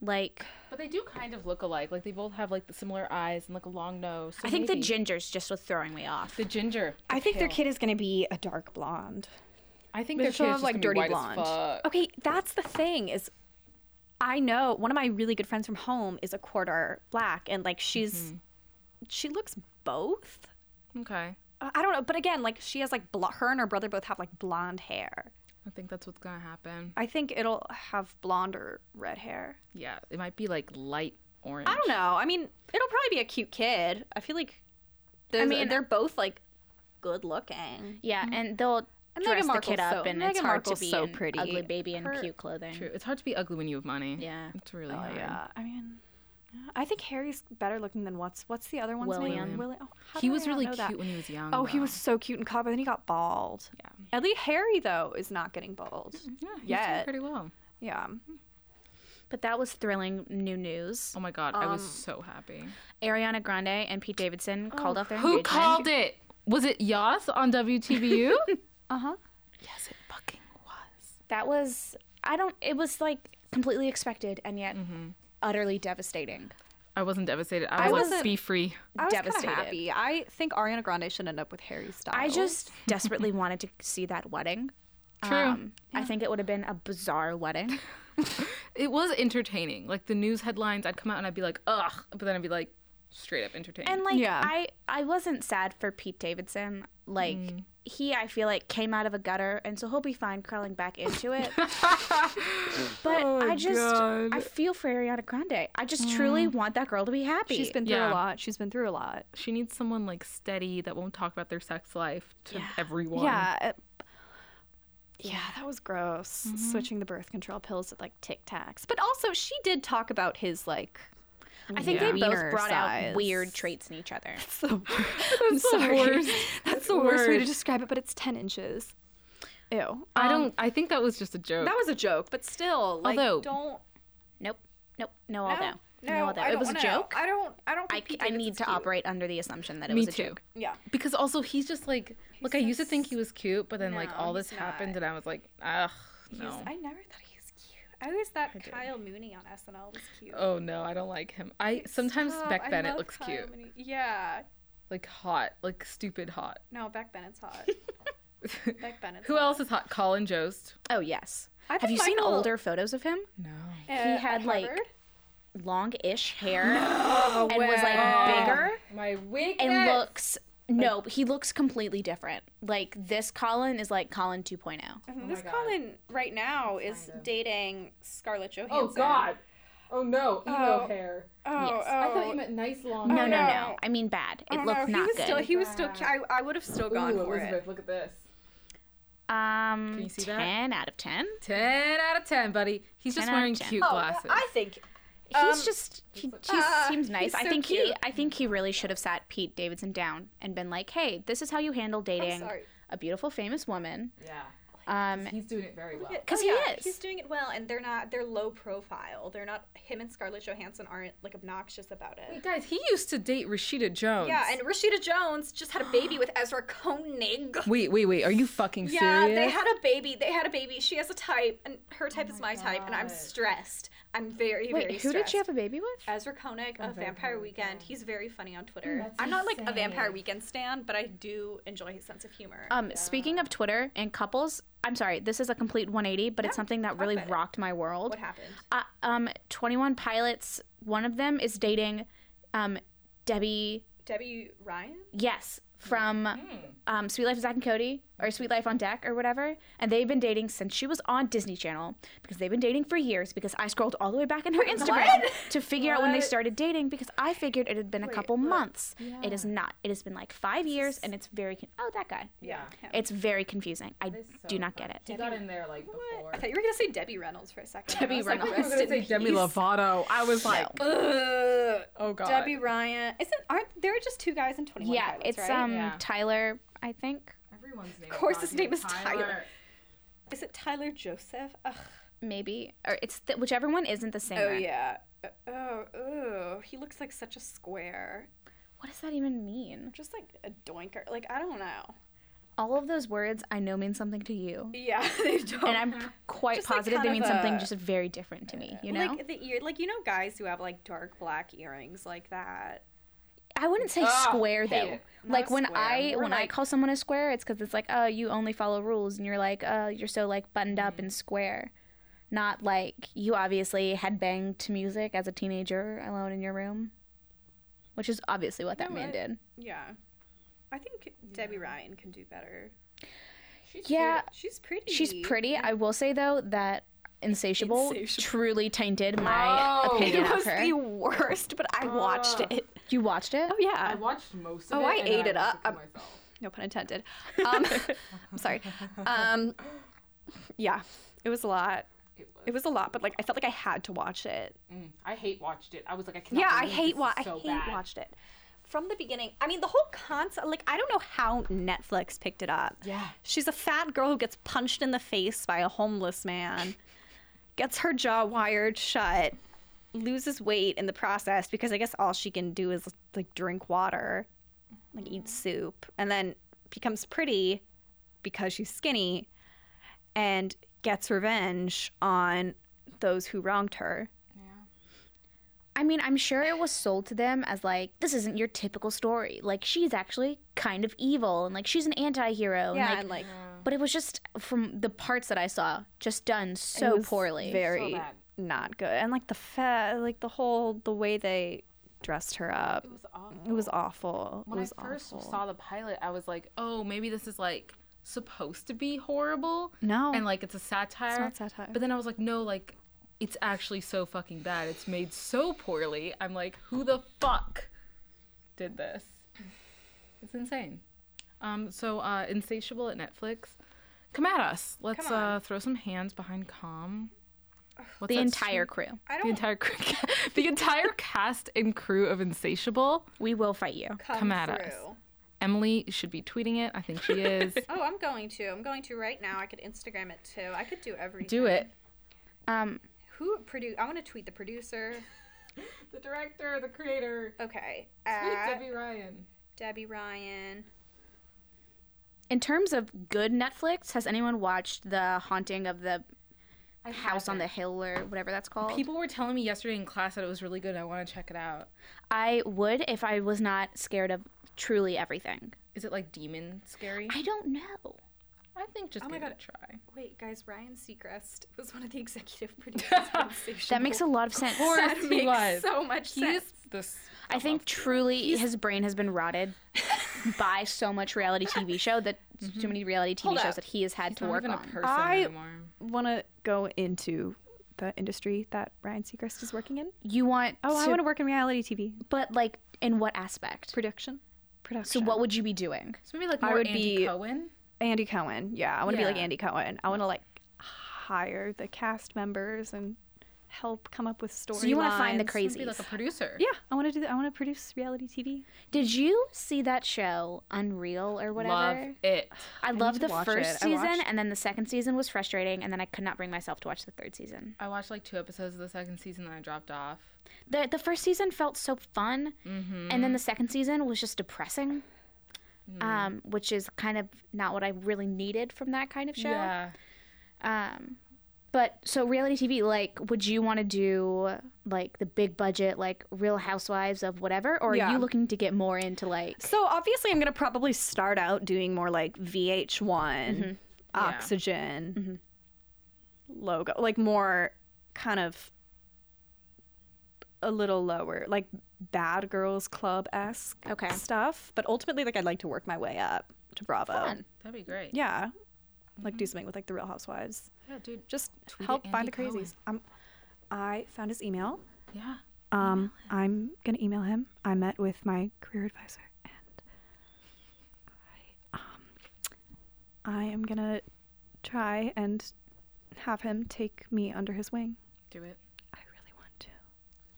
Speaker 1: like
Speaker 3: But they do kind of look alike. Like they both have like the similar eyes and like a long nose. So
Speaker 1: I think the
Speaker 3: maybe-
Speaker 1: ginger's just was throwing me off.
Speaker 3: the ginger.
Speaker 2: I think their
Speaker 3: pale.
Speaker 2: kid is gonna be a dark blonde.
Speaker 3: I think
Speaker 2: But
Speaker 3: their
Speaker 2: she'll
Speaker 3: kid
Speaker 2: have,
Speaker 3: is
Speaker 2: like,
Speaker 3: like dirty
Speaker 2: dirty
Speaker 3: white
Speaker 2: blonde.
Speaker 3: As fuck.
Speaker 2: Okay, that's the thing is, I know one of my really good friends from home is a quarter black, and like she's, she looks both. Oh. Uh,
Speaker 3: Okay.
Speaker 2: I I don't know, but again, like she has like bl- her and her brother both have like blonde hair.
Speaker 3: I think that's what's gonna happen.
Speaker 2: I think it'll have blonde or red hair.
Speaker 3: Yeah, it might be like light orange.
Speaker 2: I don't know. I mean, it'll probably be a cute kid. I feel like I mean,
Speaker 1: mean-
Speaker 2: they're both like good looking.
Speaker 1: Yeah, Mm-hmm. and they'll
Speaker 2: And
Speaker 1: dress
Speaker 2: Meghan
Speaker 1: the
Speaker 2: Markle's
Speaker 1: kid up,
Speaker 2: so-
Speaker 1: and it's
Speaker 2: Meghan
Speaker 1: hard
Speaker 2: Markle's
Speaker 1: to be
Speaker 2: so
Speaker 1: an
Speaker 2: pretty.
Speaker 1: ugly baby in
Speaker 2: Her-
Speaker 1: cute clothing.
Speaker 3: True. It's hard to be ugly when you have money.
Speaker 1: Yeah.
Speaker 3: It's really hard.
Speaker 2: I mean, I think Harry's better looking than what's what's the other one's
Speaker 1: William.
Speaker 2: name? William. Oh, how
Speaker 3: He
Speaker 2: did I
Speaker 3: was
Speaker 2: not
Speaker 3: really
Speaker 2: know
Speaker 3: cute
Speaker 2: that?
Speaker 3: when he was young.
Speaker 2: Oh, he
Speaker 3: though.
Speaker 2: was so cute and cop, but then he got bald.
Speaker 3: Yeah.
Speaker 2: At least Harry though is not getting bald.
Speaker 3: Yeah, he's doing
Speaker 2: yet.
Speaker 3: pretty well.
Speaker 2: Yeah.
Speaker 1: But that was thrilling new news.
Speaker 3: Oh my god, I was
Speaker 2: Um,
Speaker 3: so happy.
Speaker 1: Ariana Grande and Pete Davidson called off their
Speaker 3: Who
Speaker 1: engagement.
Speaker 3: called it? Was it Yas on WTBU?
Speaker 2: Uh
Speaker 3: Uh-huh.
Speaker 2: huh.
Speaker 3: yes, it fucking was.
Speaker 1: That was I don't. It was like completely expected and yet utterly devastating.
Speaker 3: I wasn't devastated. I was like,
Speaker 2: wasn't-
Speaker 3: be free.
Speaker 2: I was kind of
Speaker 1: Devastated.
Speaker 2: happy. I think Ariana Grande should end up with Harry Styles.
Speaker 1: I just desperately wanted to see that wedding.
Speaker 3: True.
Speaker 1: I think it would have been a bizarre wedding.
Speaker 3: it was entertaining. Like the news headlines, I'd come out and I'd be like, ugh, but then I'd be like, straight up entertaining.
Speaker 1: And like
Speaker 2: Yeah.
Speaker 1: I I wasn't sad for Pete Davidson. Like
Speaker 2: Mm.
Speaker 1: he I feel like came out of a gutter and so he'll be fine crawling back into it. but
Speaker 2: Oh,
Speaker 1: I just I feel for Ariana Grande. I just truly want that girl to be happy.
Speaker 2: Mm. she's been through
Speaker 3: Yeah.
Speaker 2: a lot. She's been through a lot.
Speaker 3: she needs someone like steady that won't talk about their sex life to everyone.
Speaker 2: Yeah. it- Mm-hmm. yeah, that was gross. Switching the birth control pills to like Tic Tacs. But also, she did talk about his like.
Speaker 1: I think they
Speaker 2: Yeah.
Speaker 1: both
Speaker 2: Wiener
Speaker 1: brought out
Speaker 2: size.
Speaker 1: weird traits in each other.
Speaker 2: That's the, I'm sorry.
Speaker 3: worst
Speaker 2: That's the worst way to
Speaker 3: word.
Speaker 2: describe it. But it's ten inches. Ew.
Speaker 3: I don't. I think Um, that was just a joke.
Speaker 2: That was a joke, but still, like,
Speaker 3: Although-
Speaker 2: don't.
Speaker 1: Nope. Nope. No although. No, although.
Speaker 2: I
Speaker 1: it was a
Speaker 2: don't know.
Speaker 1: joke.
Speaker 2: I don't. I don't.
Speaker 1: I,
Speaker 2: think Pete
Speaker 1: I need
Speaker 2: Davidson's
Speaker 1: to
Speaker 2: cute.
Speaker 1: operate under the assumption that it
Speaker 3: me
Speaker 1: was a
Speaker 3: too.
Speaker 1: joke.
Speaker 2: Yeah.
Speaker 3: Because also he's just like like I used to think he was cute, but then like
Speaker 2: No,
Speaker 3: all this
Speaker 2: he's
Speaker 3: happened and I was like, ugh,
Speaker 2: He's-
Speaker 3: no.
Speaker 2: I never thought he was cute. I always thought Kyle Mooney on SNL was cute.
Speaker 3: Oh no, I don't like him. I sometimes
Speaker 2: Stop,
Speaker 3: Beck
Speaker 2: I
Speaker 3: Bennett
Speaker 2: love
Speaker 3: looks
Speaker 2: Kyle
Speaker 3: cute,
Speaker 2: Mooney. Yeah.
Speaker 3: like hot, like stupid hot.
Speaker 2: No, Beck Bennett's hot. Beck Bennett's
Speaker 3: Who
Speaker 2: hot.
Speaker 3: else is hot? Colin Jost.
Speaker 1: Oh yes.
Speaker 2: I
Speaker 1: Have you
Speaker 2: think
Speaker 1: seen
Speaker 2: Michael-
Speaker 1: older photos of him?
Speaker 3: No.
Speaker 2: Uh,
Speaker 1: had, like,
Speaker 2: Harvard?
Speaker 1: Long-ish hair
Speaker 3: Oh,
Speaker 1: and was like
Speaker 2: wow.
Speaker 1: bigger
Speaker 3: My weakness.
Speaker 1: and looks no, he looks completely different. Like this Colin is like Colin oh. 2.0.
Speaker 2: Oh, Mm-hmm. this Colin right now is dating Scarlett Johansson.
Speaker 3: Oh God. Oh no, emo hair.
Speaker 5: Oh,
Speaker 1: Yes.
Speaker 5: oh.
Speaker 3: I thought you meant nice long.
Speaker 1: No,
Speaker 5: Oh,
Speaker 1: no, no,
Speaker 5: no.
Speaker 1: I mean bad. It
Speaker 5: Oh,
Speaker 1: looked
Speaker 5: no, he
Speaker 1: not
Speaker 5: was
Speaker 1: good.
Speaker 5: still-
Speaker 2: he was still. I, I would have still gone
Speaker 3: Ooh,
Speaker 2: for
Speaker 3: Elizabeth,
Speaker 2: it.
Speaker 3: look at this.
Speaker 1: um,
Speaker 3: you see that?
Speaker 1: ten out of ten.
Speaker 3: Ten out of ten, buddy. He's just
Speaker 1: 10 out of
Speaker 3: wearing
Speaker 1: 10.
Speaker 3: cute glasses.
Speaker 2: Oh, I think.
Speaker 1: he's just he, he
Speaker 2: Ah,
Speaker 1: seems nice.
Speaker 2: Um, he's
Speaker 1: I
Speaker 2: so
Speaker 1: think he
Speaker 2: cute.
Speaker 1: I think he really should have sat Pete Davidson down and been like, "Hey, this is how you handle dating
Speaker 2: sorry.
Speaker 1: a beautiful famous woman."
Speaker 3: yeah,
Speaker 1: Um,
Speaker 3: he's doing it very well.
Speaker 1: 'Cause
Speaker 2: Oh,
Speaker 1: he
Speaker 2: yeah,
Speaker 1: is.
Speaker 2: He's doing it well, and they're not. They're low profile. They're not. Him and Scarlett Johansson aren't like obnoxious about it.
Speaker 3: Wait, guys, he used to date Rashida Jones.
Speaker 2: Yeah, and Rashida Jones just had a baby with Ezra Koenig.
Speaker 3: wait, wait, wait. Are you fucking
Speaker 2: Yeah,
Speaker 3: serious?
Speaker 2: they had a baby. They had a baby. She has a type, and her type is my type, and I'm
Speaker 3: God.
Speaker 2: stressed. I'm very,
Speaker 1: Oh wait,
Speaker 2: very
Speaker 1: who
Speaker 2: stressed. Uh,
Speaker 1: did she have Oh a baby with?
Speaker 2: Ezra Koenig of Vampire Weekend. He's very funny on Twitter.
Speaker 3: That's
Speaker 2: I'm not like a Vampire
Speaker 3: insane.
Speaker 2: Weekend stan, but I do enjoy his sense of humor.
Speaker 1: Um, speaking of Twitter and couples, I'm sorry, this is a complete 180, but it's something that really
Speaker 2: about it.
Speaker 1: rocked my world.
Speaker 2: what happened?
Speaker 1: Uh, um, 21 Pilots, one of them is dating, um, Debbie.
Speaker 2: Debbie Ryan?
Speaker 1: Yes, from
Speaker 2: Hmm.
Speaker 1: um, Sweet Life of Zach and Cody or Sweet Life on Deck or whatever. And they've been dating since she was on Disney Channel because they've been dating for years because I scrolled all the way back in her Instagram to figure out when they started dating because I figured it had been a couple months. It is not. It has been like five years and it's very. Con- oh, that guy.
Speaker 3: yeah.
Speaker 1: It's very confusing. I do not get it.
Speaker 3: He got in there like before.
Speaker 2: I thought you were gonna say Debbie Reynolds for a second.
Speaker 1: Debbie
Speaker 2: I was like,
Speaker 1: Reynolds.
Speaker 2: rest in
Speaker 3: Demi Lovato. I was like,
Speaker 2: Ugh.
Speaker 3: oh god.
Speaker 2: Debbie Ryan. Isn't aren't there are just two guys in Twenty One
Speaker 1: Yeah,
Speaker 2: Pilots,
Speaker 1: it's
Speaker 2: right?
Speaker 1: um
Speaker 3: Yeah.
Speaker 1: Tyler, I think.
Speaker 3: Everyone's name.
Speaker 2: Of course
Speaker 3: is
Speaker 2: his
Speaker 3: Rocky.
Speaker 2: name is Tyler. Is it Tyler Joseph? Ugh.
Speaker 1: Maybe or it's th- whichever one isn't the singer.
Speaker 2: Oh yeah. Uh, Oh, oh, he looks like such a square.
Speaker 1: What does that even mean?
Speaker 2: Just like a doinker. Like I don't know.
Speaker 1: All of those words I know mean something to you.
Speaker 2: Yeah, they don't.
Speaker 1: And I'm p- quite
Speaker 2: Mm-hmm. Just, like,
Speaker 1: positive they
Speaker 2: kind
Speaker 1: mean
Speaker 2: of
Speaker 1: something
Speaker 2: a-
Speaker 1: just very different to me, you know?
Speaker 2: like the ear, like you know, guys who have like dark black earrings like that.
Speaker 1: I wouldn't say
Speaker 2: oh,
Speaker 1: square
Speaker 3: hate
Speaker 1: though.
Speaker 3: it.
Speaker 1: Like when
Speaker 2: square,
Speaker 1: I
Speaker 2: more
Speaker 1: when I
Speaker 2: like-
Speaker 1: call someone a square, it's cuz it's like, "Oh, you only follow rules." And you're like, "Oh, you're so like buttoned up
Speaker 2: Mm-hmm.
Speaker 1: and square." Not like you obviously headbanged to music as a teenager alone in your room, which is obviously what that man did.
Speaker 2: Yeah, I think Debbie Ryan can do better.
Speaker 3: She's
Speaker 1: Yeah,
Speaker 2: She's pretty.
Speaker 1: She's pretty. I will say though that Insatiable,
Speaker 2: Insatiable.
Speaker 1: truly tainted my
Speaker 3: Oh.
Speaker 1: opinion
Speaker 2: It
Speaker 1: of
Speaker 2: was
Speaker 1: her.
Speaker 2: the worst, but I watched
Speaker 3: Ah.
Speaker 2: it.
Speaker 1: You watched it?
Speaker 2: Oh yeah.
Speaker 3: I watched most of
Speaker 2: Oh,
Speaker 3: it.
Speaker 2: I
Speaker 3: and then
Speaker 2: ate it
Speaker 3: watched
Speaker 2: up.
Speaker 3: to myself.
Speaker 2: No pun intended. Um, I'm sorry. Um, yeah, it was a lot.
Speaker 3: It was.
Speaker 2: It was a lot, but like I felt like I had to watch it.
Speaker 3: Mm, I hate watched it. I was like, I cannot.
Speaker 2: yeah, I
Speaker 3: believe
Speaker 2: hate
Speaker 3: this
Speaker 2: wa-
Speaker 3: is so
Speaker 2: I hate
Speaker 3: bad.
Speaker 2: watched it from the beginning. I mean, the whole concept. Like, I don't know how Netflix picked it up.
Speaker 3: Yeah.
Speaker 2: she's a fat girl who gets punched in the face by a homeless man, gets her jaw wired shut, loses weight in the process because I guess all she can do is like drink water, like eat soup, and then becomes pretty because she's skinny, and gets revenge on those who wronged her.
Speaker 1: I mean, I'm sure it was sold to them as like, this isn't your typical story. Like she's actually kind of evil and like she's an anti-hero. and, like-
Speaker 2: and like
Speaker 1: but it was just from the parts that I saw, just done so
Speaker 2: was
Speaker 1: poorly.
Speaker 2: very
Speaker 3: bad.
Speaker 2: not good. And like the fa- like the whole the way they dressed her up,
Speaker 3: It was awful.
Speaker 2: it was awful.
Speaker 3: When
Speaker 2: it was
Speaker 3: I first
Speaker 2: awful.
Speaker 3: saw the pilot, I was like, oh, maybe this is like supposed to be horrible.
Speaker 2: No.
Speaker 3: And like Oh. it's a satire.
Speaker 2: not satire.
Speaker 3: But then I was like, no, like it's actually so fucking bad. It's made so poorly. I'm like, who the fuck did this? It's insane. Um, so uh, Insatiable at Netflix. Come at us. Let's uh, throw some hands behind calm. What's
Speaker 1: the
Speaker 3: that
Speaker 1: entire
Speaker 3: stream-
Speaker 1: crew.
Speaker 3: the entire crew, the entire cast and crew of Insatiable.
Speaker 1: We will fight you.
Speaker 2: come,
Speaker 3: come at us. Emily should be tweeting it. I think she is.
Speaker 2: Oh, I'm going to. I'm going to right now. I could Instagram it too. I could do everything.
Speaker 3: Do it.
Speaker 1: Um,
Speaker 2: Who produ? I want to tweet the producer.
Speaker 3: The director, the creator,
Speaker 2: Okay. At Debbie.
Speaker 3: Ryan.
Speaker 2: Ryan.
Speaker 1: in terms of good Netflix, has anyone watched The Haunting of the House on the Hill or whatever that's called?
Speaker 3: People were telling me yesterday in class that it was really good. I want to check it out.
Speaker 1: I would if I was not scared of truly everything.
Speaker 3: Is it like demon scary?
Speaker 1: I don't know.
Speaker 3: I think just
Speaker 2: Oh my
Speaker 3: give it
Speaker 2: God.
Speaker 3: a try.
Speaker 2: Wait, guys. Ryan Seacrest was one of the executive producers. for Insatiable.
Speaker 1: That makes a lot of sense.
Speaker 3: course
Speaker 2: That makes so much
Speaker 3: He
Speaker 2: sense.
Speaker 3: is this.
Speaker 1: I think truly his brain has been rotted by so much reality TV show that too many reality TV shows
Speaker 2: up.
Speaker 1: that he has had
Speaker 3: He's
Speaker 1: to
Speaker 3: not
Speaker 1: work
Speaker 3: even a
Speaker 1: on.
Speaker 3: person
Speaker 2: I-
Speaker 3: anymore.
Speaker 2: want to go into the industry that Ryan Seacrest is working in.
Speaker 1: You want?
Speaker 2: Oh, I want to work in reality TV
Speaker 1: But like, in what aspect?
Speaker 2: production.
Speaker 1: So
Speaker 2: Production.
Speaker 1: what would you be doing?
Speaker 3: So maybe like
Speaker 2: I
Speaker 3: more
Speaker 2: would
Speaker 3: Andy
Speaker 2: be-
Speaker 3: Cohen.
Speaker 2: Andy Cohen. Yeah, I want to be like
Speaker 3: Yeah.
Speaker 2: Andy Cohen. I want to like hire the cast members and help come up with stories.
Speaker 1: So you want to find the
Speaker 3: Maybe be
Speaker 1: crazies?
Speaker 3: like a producer.
Speaker 2: Yeah, I want to do that. I want to produce reality TV.
Speaker 1: Did you see that show Unreal or whatever?
Speaker 3: Love it.
Speaker 1: I loved
Speaker 2: to
Speaker 1: the
Speaker 2: watch
Speaker 1: first
Speaker 2: it. I
Speaker 1: season,
Speaker 2: watched-
Speaker 1: and then the second season was frustrating, and then I could not bring myself to watch the third season.
Speaker 3: I watched like two episodes of the second season, then I dropped off.
Speaker 1: the The first season felt so fun,
Speaker 2: Mm-hmm.
Speaker 1: and then the second season was just depressing,
Speaker 2: Mm.
Speaker 1: um, which is kind of not what I really needed from that kind of show.
Speaker 3: Yeah.
Speaker 1: Um, but so reality TV, like, would you want to do like the big budget, like Real Housewives of whatever, or are
Speaker 2: Yeah.
Speaker 1: you looking to get more into like?
Speaker 2: So obviously, I'm gonna probably start out doing more like VH1, Oxygen, logo, like more kind of a little lower, like Bad Girls Club esque
Speaker 1: Okay.
Speaker 2: stuff. But ultimately, like I'd like to work my way up to Bravo.
Speaker 3: That'd be great.
Speaker 2: Yeah, like do something with like the Real Housewives.
Speaker 3: Yeah, dude.
Speaker 2: Just
Speaker 3: Tweet at
Speaker 2: help find
Speaker 3: Andy
Speaker 2: the crazies. Um, I found his email.
Speaker 3: Yeah.
Speaker 2: Um, I'm gonna email him. I met with my career advisor, and I, um, I am gonna try and have him take me under his wing.
Speaker 3: Do it.
Speaker 2: I really want to.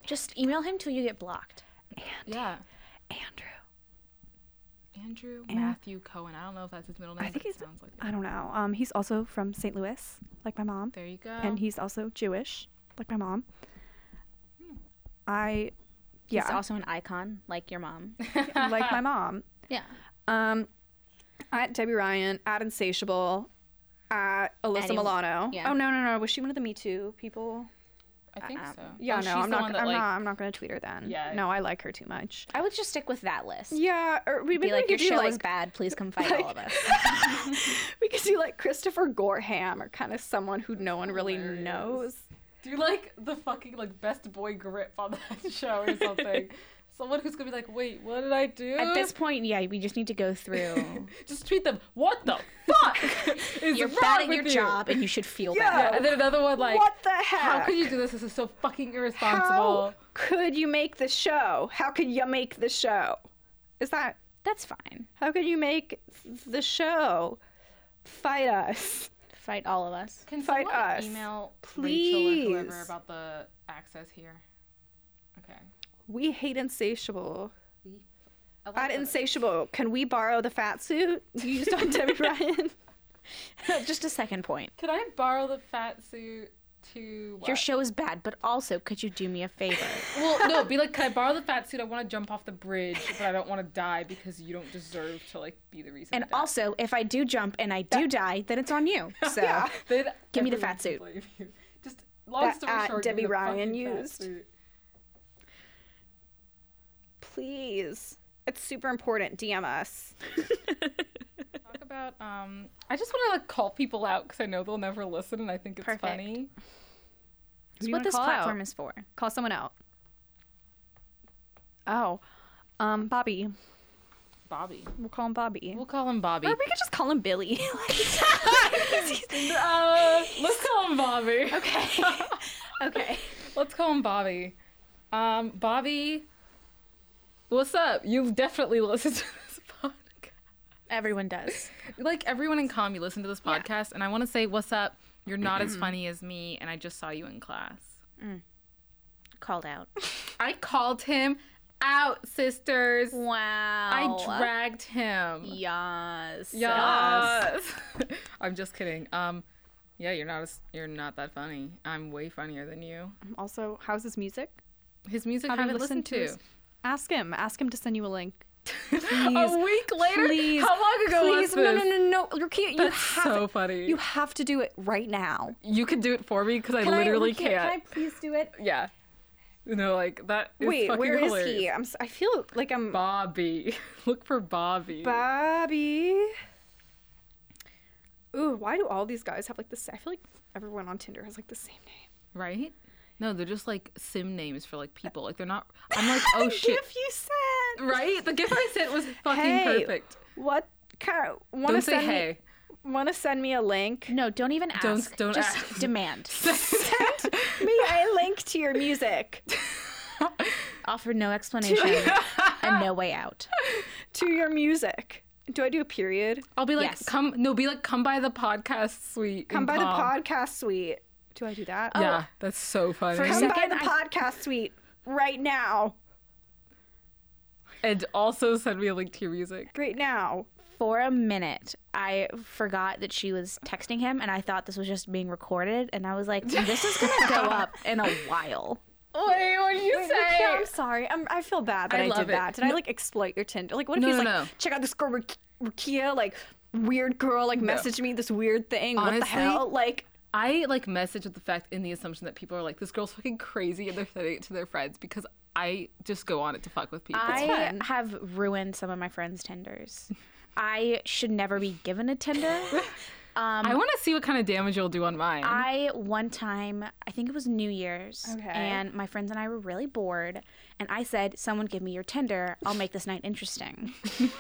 Speaker 1: Just email him till you get blocked.
Speaker 3: Yeah.
Speaker 2: Andrew,
Speaker 3: Andrew Matthew Cohen. I don't know if that's his middle name.
Speaker 2: I
Speaker 3: but
Speaker 2: think
Speaker 3: it
Speaker 2: he's.
Speaker 3: sounds like it.
Speaker 2: I don't know. Um, he's also from St. Louis, like my mom,
Speaker 3: There you go.
Speaker 2: and he's also Jewish, like my mom. Hmm. I, yeah,
Speaker 1: He's also an icon, like your mom.
Speaker 2: like my mom.
Speaker 1: yeah.
Speaker 2: Um, at Debbie Ryan, at Insatiable, at Alyssa
Speaker 1: Anyone-
Speaker 2: Milano.
Speaker 1: yeah.
Speaker 2: Oh no, no, no! Was she one of the Me Too people?
Speaker 3: I think so. Oh,
Speaker 2: Yeah, no,
Speaker 3: she's
Speaker 2: I'm
Speaker 3: the
Speaker 2: not.
Speaker 3: one
Speaker 2: I'm
Speaker 3: that, like-
Speaker 2: not. I'm not going to tweet her then.
Speaker 3: Yeah.
Speaker 2: No, I like her too much.
Speaker 1: I would just stick with that list.
Speaker 2: Yeah, or we,
Speaker 1: Be
Speaker 2: maybe
Speaker 1: like,
Speaker 2: we
Speaker 1: your
Speaker 2: could do
Speaker 1: show is
Speaker 2: like
Speaker 1: bad. Please come fight all of us.
Speaker 2: we could do like Christopher Gorham or kind of someone who no one really
Speaker 3: hilarious.
Speaker 2: knows.
Speaker 3: Do like the fucking like best boy grip on that show or something. Someone who's gonna be like, wait, what did I do?
Speaker 1: At this point, yeah, we just need to go through.
Speaker 3: Just tweet them. What the fuck? is
Speaker 1: You're
Speaker 3: wrong
Speaker 1: bad at
Speaker 3: with
Speaker 1: your
Speaker 3: you?"
Speaker 1: job, and you should feel
Speaker 2: Yeah.
Speaker 1: bad.
Speaker 3: Yeah, and then another one like,
Speaker 2: what the heck?
Speaker 3: how could you do this? This is so fucking irresponsible.
Speaker 2: How could you make the show? How could you make the show? Is that
Speaker 1: That's fine.
Speaker 2: how could you make the show? Fight us.
Speaker 1: Fight all of us.
Speaker 3: Can
Speaker 2: Fight
Speaker 3: someone
Speaker 2: us.
Speaker 3: email Rachel or whoever
Speaker 2: Please.
Speaker 3: about the access here? Okay.
Speaker 2: We hate insatiable.
Speaker 3: We. I like
Speaker 2: At
Speaker 3: that.
Speaker 2: insatiable, can we borrow the fat suit you used on Debbie Ryan?
Speaker 1: just a second point.
Speaker 3: Can I borrow the fat suit to?
Speaker 1: Your
Speaker 3: what?
Speaker 1: show is bad, but also, could you do me a favor?
Speaker 3: well, no. Be like, can I borrow the fat suit? I want to jump off the bridge, but I don't want to die because you don't deserve to like be the reason.
Speaker 1: and
Speaker 3: I died."
Speaker 1: also, if I do jump and I do die, then it's on you. So
Speaker 3: Then
Speaker 1: Give me the
Speaker 3: everyone
Speaker 1: fat
Speaker 3: can
Speaker 1: suit.
Speaker 3: blame you. Just long
Speaker 2: That
Speaker 3: story
Speaker 2: at
Speaker 3: short, give me
Speaker 2: Debbie
Speaker 3: the
Speaker 2: Ryan
Speaker 3: fucking fat
Speaker 2: used.
Speaker 3: suit.
Speaker 2: Please. It's super important. DM us.
Speaker 3: Talk about. Um, I just want to like call people out because I know they'll never listen, and I think it's
Speaker 1: Perfect.
Speaker 3: funny.
Speaker 1: that's what this platform is for.
Speaker 2: Call someone out. Oh, um, Bobby.
Speaker 3: Bobby.
Speaker 2: We'll call him Bobby.
Speaker 3: We'll call him Bobby.
Speaker 2: Or we could just call him Billy.
Speaker 3: Uh, let's call him Bobby.
Speaker 2: okay. okay.
Speaker 3: Let's call him Bobby. Um, Bobby, what's up? You've definitely listened to this podcast.
Speaker 1: Everyone does.
Speaker 3: Like everyone in com, you listen to this podcast, and I want to say, what's up? You're not as funny as me, and I just saw you in class.
Speaker 1: Called out.
Speaker 3: I called him out, sisters.
Speaker 1: Wow.
Speaker 3: I dragged him.
Speaker 1: Yes.
Speaker 3: Yes. I'm just kidding. Um, yeah, you're not as you're not that funny. I'm way funnier than you.
Speaker 2: Also, how's his music?
Speaker 3: His music
Speaker 2: Have you
Speaker 3: haven't
Speaker 2: listened
Speaker 3: listened
Speaker 2: to his- Ask him. Ask him to send you a link.
Speaker 3: a week later?
Speaker 2: please,
Speaker 3: How long ago was
Speaker 2: Please,
Speaker 3: this?
Speaker 2: no, no, no, no. You're cute. You
Speaker 3: That's
Speaker 2: have
Speaker 3: so funny.
Speaker 2: you
Speaker 3: You,
Speaker 2: have to do it right now.
Speaker 3: can do it for me because I literally can't.
Speaker 2: Can I please do it?
Speaker 3: Yeah. You know, like that is
Speaker 2: Wait,
Speaker 3: fucking
Speaker 2: where is
Speaker 3: hilarious.
Speaker 2: he? I'm. s- I feel like I'm.
Speaker 3: Bobby. Look for Bobby.
Speaker 2: Bobby. Ooh, why do all these guys have like the same? I feel like everyone on Tinder has like the same name.
Speaker 3: right? No, they're just like sim names for like people. Like they're not I'm like, oh shit.
Speaker 2: If you said
Speaker 3: Right? The gift I sent was fucking
Speaker 2: Hey,
Speaker 3: perfect.
Speaker 2: what kind? Want
Speaker 3: Don't
Speaker 2: to
Speaker 3: say
Speaker 2: send
Speaker 3: hey.
Speaker 2: me? Want to send me a link?
Speaker 1: No, don't even ask.
Speaker 3: Don't- don't
Speaker 1: Just
Speaker 3: ask.
Speaker 1: demand.
Speaker 4: sent me a link to your music,
Speaker 1: Offered no explanation and no way out.
Speaker 4: to your music. Do I do a period?
Speaker 3: I'll be like,
Speaker 1: Yes.
Speaker 3: come, no, be like, come by the podcast suite.
Speaker 4: Come
Speaker 3: in
Speaker 4: by
Speaker 3: Palm.
Speaker 4: the podcast suite. Do I do that? Oh,
Speaker 3: Yeah, that's so funny.
Speaker 1: For a
Speaker 4: Come by
Speaker 1: second,
Speaker 4: the podcast suite right now.
Speaker 3: and also send me a link to your music.
Speaker 4: Right now.
Speaker 1: For a minute, I forgot that she was texting him, and I thought this was just being recorded. And I was like, this is gonna go up in a while.
Speaker 3: Wait, what did you
Speaker 4: Yeah, I'm sorry. I'm, I feel bad that
Speaker 3: I
Speaker 4: I,
Speaker 3: love
Speaker 4: did
Speaker 3: it.
Speaker 4: that. Did I like exploit your Tinder? Like, what if
Speaker 3: No,
Speaker 4: he's
Speaker 3: no,
Speaker 4: like,
Speaker 3: no.
Speaker 4: check out this girl, Rak- Rakia, like weird girl, like messaged me this weird thing. what the
Speaker 3: Honestly,
Speaker 4: hell? Like,
Speaker 3: I like message with the fact in the assumption that people are like, this girl's fucking crazy and they're sending it to their friends because I just go on it to fuck with people.
Speaker 1: I have ruined some of my friends' tenders. I should never be given a tender.
Speaker 3: I want to see what kind of damage you'll do on mine.
Speaker 1: I one time, I think it was New Year's,
Speaker 4: Okay.
Speaker 1: and my friends and I were really bored, and I said, "Someone give me your Tinder. I'll make this night interesting."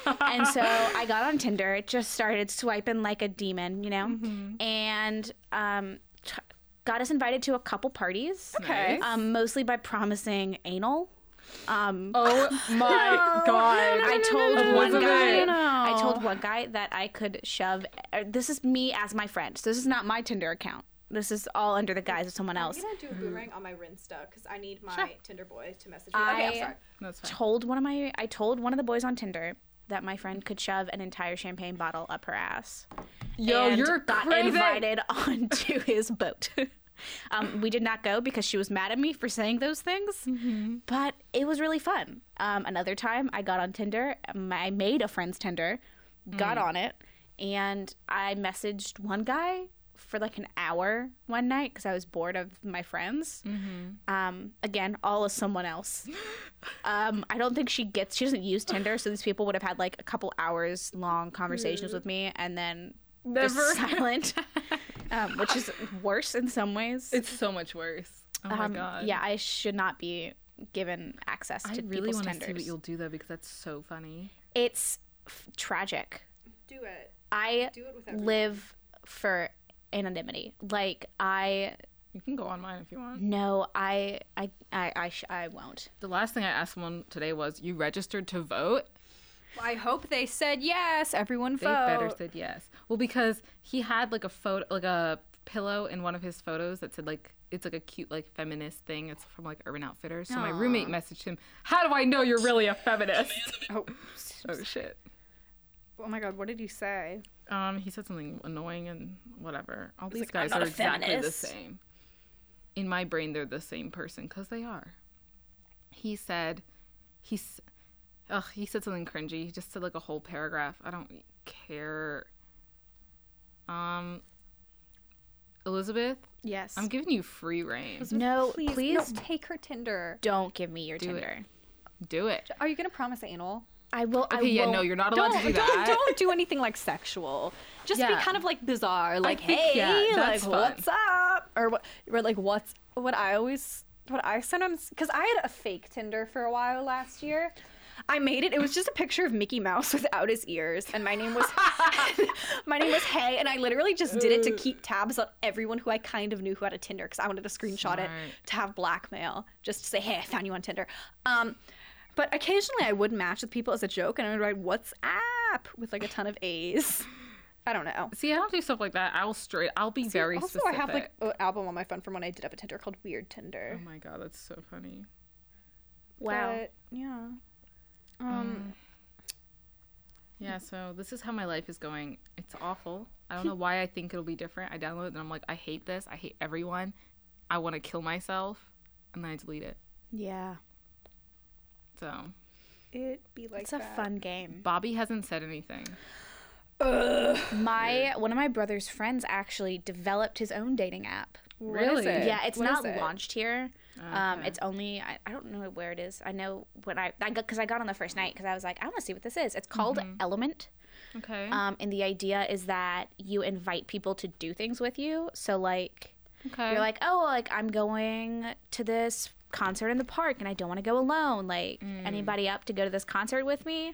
Speaker 1: and so I got on Tinder. It just started swiping like a demon, you know,
Speaker 3: Mm-hmm.
Speaker 1: and um, t- got us invited to a couple parties.
Speaker 4: okay.
Speaker 1: Um, mostly by promising anal. Um,
Speaker 3: oh my god.
Speaker 1: I told one
Speaker 3: Elizabeth.
Speaker 1: guy.
Speaker 3: No, no,
Speaker 1: I told one guy that I could shove. er, This is me as my friend. So this is not my Tinder account. This is all under the guise of someone else.
Speaker 4: do a boomerang on my Rinsta because I need my Tinder boy to message me.
Speaker 1: Okay, I'm I- sorry.
Speaker 3: That's fine.
Speaker 1: Told one of my. I told one of the boys on Tinder that my friend could shove an entire champagne bottle up her ass.
Speaker 3: Yo,
Speaker 1: and
Speaker 3: Oh, you're
Speaker 1: got
Speaker 3: crazy.
Speaker 1: invited onto his boat. Um, we did not go because she was mad at me for saying those things, but it was really fun. Um, another time, I got on Tinder. um, I made a friend's Tinder, got
Speaker 3: Mm.
Speaker 1: on it, and I messaged one guy for like an hour one night because I was bored of my friends.
Speaker 3: Mm-hmm.
Speaker 1: Um, again, all as someone else. Um, I don't think she gets. She doesn't use Tinder, so these people would have had like a couple hours long conversations with me, and then just
Speaker 3: Never.
Speaker 1: silent, um, which is worse in some ways.
Speaker 3: It's so much worse. Oh my
Speaker 1: Um,
Speaker 3: god.
Speaker 1: Yeah, I should not be given access
Speaker 3: I
Speaker 1: to
Speaker 3: really
Speaker 1: people's
Speaker 3: want to see what
Speaker 1: tenders.
Speaker 3: you'll do though because that's so funny.
Speaker 1: It's f- tragic.
Speaker 4: Do it.
Speaker 1: I
Speaker 4: it with
Speaker 1: live for anonymity. Like I
Speaker 3: You can go on mine if you want.
Speaker 1: no, I I I I, sh- I won't.
Speaker 3: The last thing I asked someone today was, "You registered to vote?"
Speaker 2: I hope they said yes. Everyone
Speaker 3: They better
Speaker 2: vote.
Speaker 3: said yes. Well, because he had like a photo, like a pillow in one of his photos that said like it's like a cute like feminist thing. It's from like Urban Outfitters. So my roommate messaged him, "How do I know you're really a feminist?"
Speaker 4: Oh,
Speaker 3: oh shit.
Speaker 4: oh my god, what did he say?
Speaker 3: Um, he said something annoying and whatever. All these
Speaker 4: "I'm
Speaker 3: guys
Speaker 4: not
Speaker 3: are
Speaker 4: a
Speaker 3: exactly the
Speaker 4: feminist."
Speaker 3: same. In my brain, they're the same person because they are. He said, he's, ugh, he said something cringy. He just said like a whole paragraph. I don't care. Um, Elizabeth,
Speaker 1: Yes.
Speaker 3: I'm giving you free reign.
Speaker 1: no, please,
Speaker 2: Please take her Tinder.
Speaker 1: don't give me your Tinder.
Speaker 3: Do it.
Speaker 2: Are you gonna promise anal?
Speaker 1: I will. I
Speaker 3: Okay, yeah, no,
Speaker 1: won't-
Speaker 3: you're not allowed to do
Speaker 2: don't,
Speaker 3: that.
Speaker 2: don't do anything like sexual. Just
Speaker 3: Yeah.
Speaker 2: be kind of like bizarre, like
Speaker 3: think,
Speaker 2: hey,
Speaker 3: yeah,
Speaker 2: like
Speaker 3: that's fun.
Speaker 2: what's up, or what, or like what's what I always what I sometimes because I had a fake Tinder for a while last year.
Speaker 4: I made it. It was just a picture of Mickey Mouse without his ears, and my name was
Speaker 2: My name was Hey, and I literally just did it to keep tabs on everyone who I kind of knew who had a Tinder because I wanted to screenshot it
Speaker 3: Smart.
Speaker 2: to have blackmail, just to say, hey, I found you on Tinder. Um, but occasionally I would match with people as a joke, and I would write "What's up" with like a ton of A's. I don't know.
Speaker 3: See, I don't do stuff like that. I'll straight. I'll be very
Speaker 2: also,
Speaker 3: specific.
Speaker 2: I have like an album on my phone from when I did have a Tinder called Weird Tinder.
Speaker 3: oh my god, that's so funny.
Speaker 1: Wow. Mm.
Speaker 2: But, yeah. Um,
Speaker 3: Yeah, so this is how my life is going. It's awful. I don't know why I think it'll be different. I download it and I'm like, I hate this. I hate everyone. I want to kill myself. And then I delete it.
Speaker 1: yeah.
Speaker 3: So
Speaker 4: it be like
Speaker 1: It's a fun game.
Speaker 3: Bobby hasn't said anything.
Speaker 1: My one of my brother's friends actually developed his own dating app.
Speaker 3: really?
Speaker 4: it?
Speaker 1: Yeah, it's
Speaker 4: What
Speaker 1: not
Speaker 4: is it?
Speaker 1: launched here. Um, it's only I, I don't know where it is. I know when I I got because I got on the first night because I was like I want to see what this is. It's called Element,
Speaker 3: Okay.
Speaker 1: um, and the idea is that you invite people to do things with you. So like
Speaker 3: okay.
Speaker 1: you're like oh like I'm going to this concert in the park and I don't want to go alone. Like
Speaker 3: Mm.
Speaker 1: anybody up to go to this concert with me?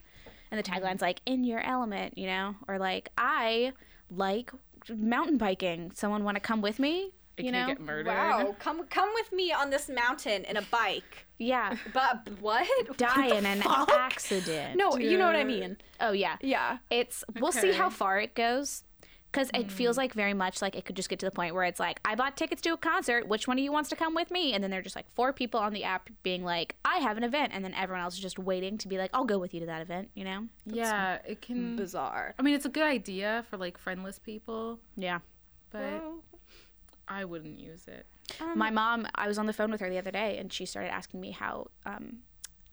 Speaker 1: And the
Speaker 3: Mm-hmm.
Speaker 1: tagline's like in your element, you know, or like I like mountain biking. Someone want to come with me?
Speaker 3: It
Speaker 1: You
Speaker 3: can
Speaker 1: know?
Speaker 3: get murdered.
Speaker 2: Wow, come come with me on this mountain in a bike.
Speaker 1: Yeah.
Speaker 2: But what?
Speaker 1: Die in an accident.
Speaker 4: No, you know what I mean.
Speaker 1: Oh yeah.
Speaker 4: Yeah.
Speaker 1: It's we'll see how
Speaker 3: Okay.
Speaker 1: far it goes. Because it feels like very much like it could just get to the point where it's like, I bought tickets to a concert. Which one of you wants to come with me? And then they're just like four people on the app being like, I have an event. And then everyone else is just waiting to be like, I'll go with you to that event, you know?
Speaker 3: Yeah, it can.
Speaker 2: Bizarre.
Speaker 3: I mean, it's a good idea for like friendless people,
Speaker 1: Yeah.
Speaker 3: but I wouldn't use it.
Speaker 1: My mom, I was on the phone with her the other day and she started asking me how um,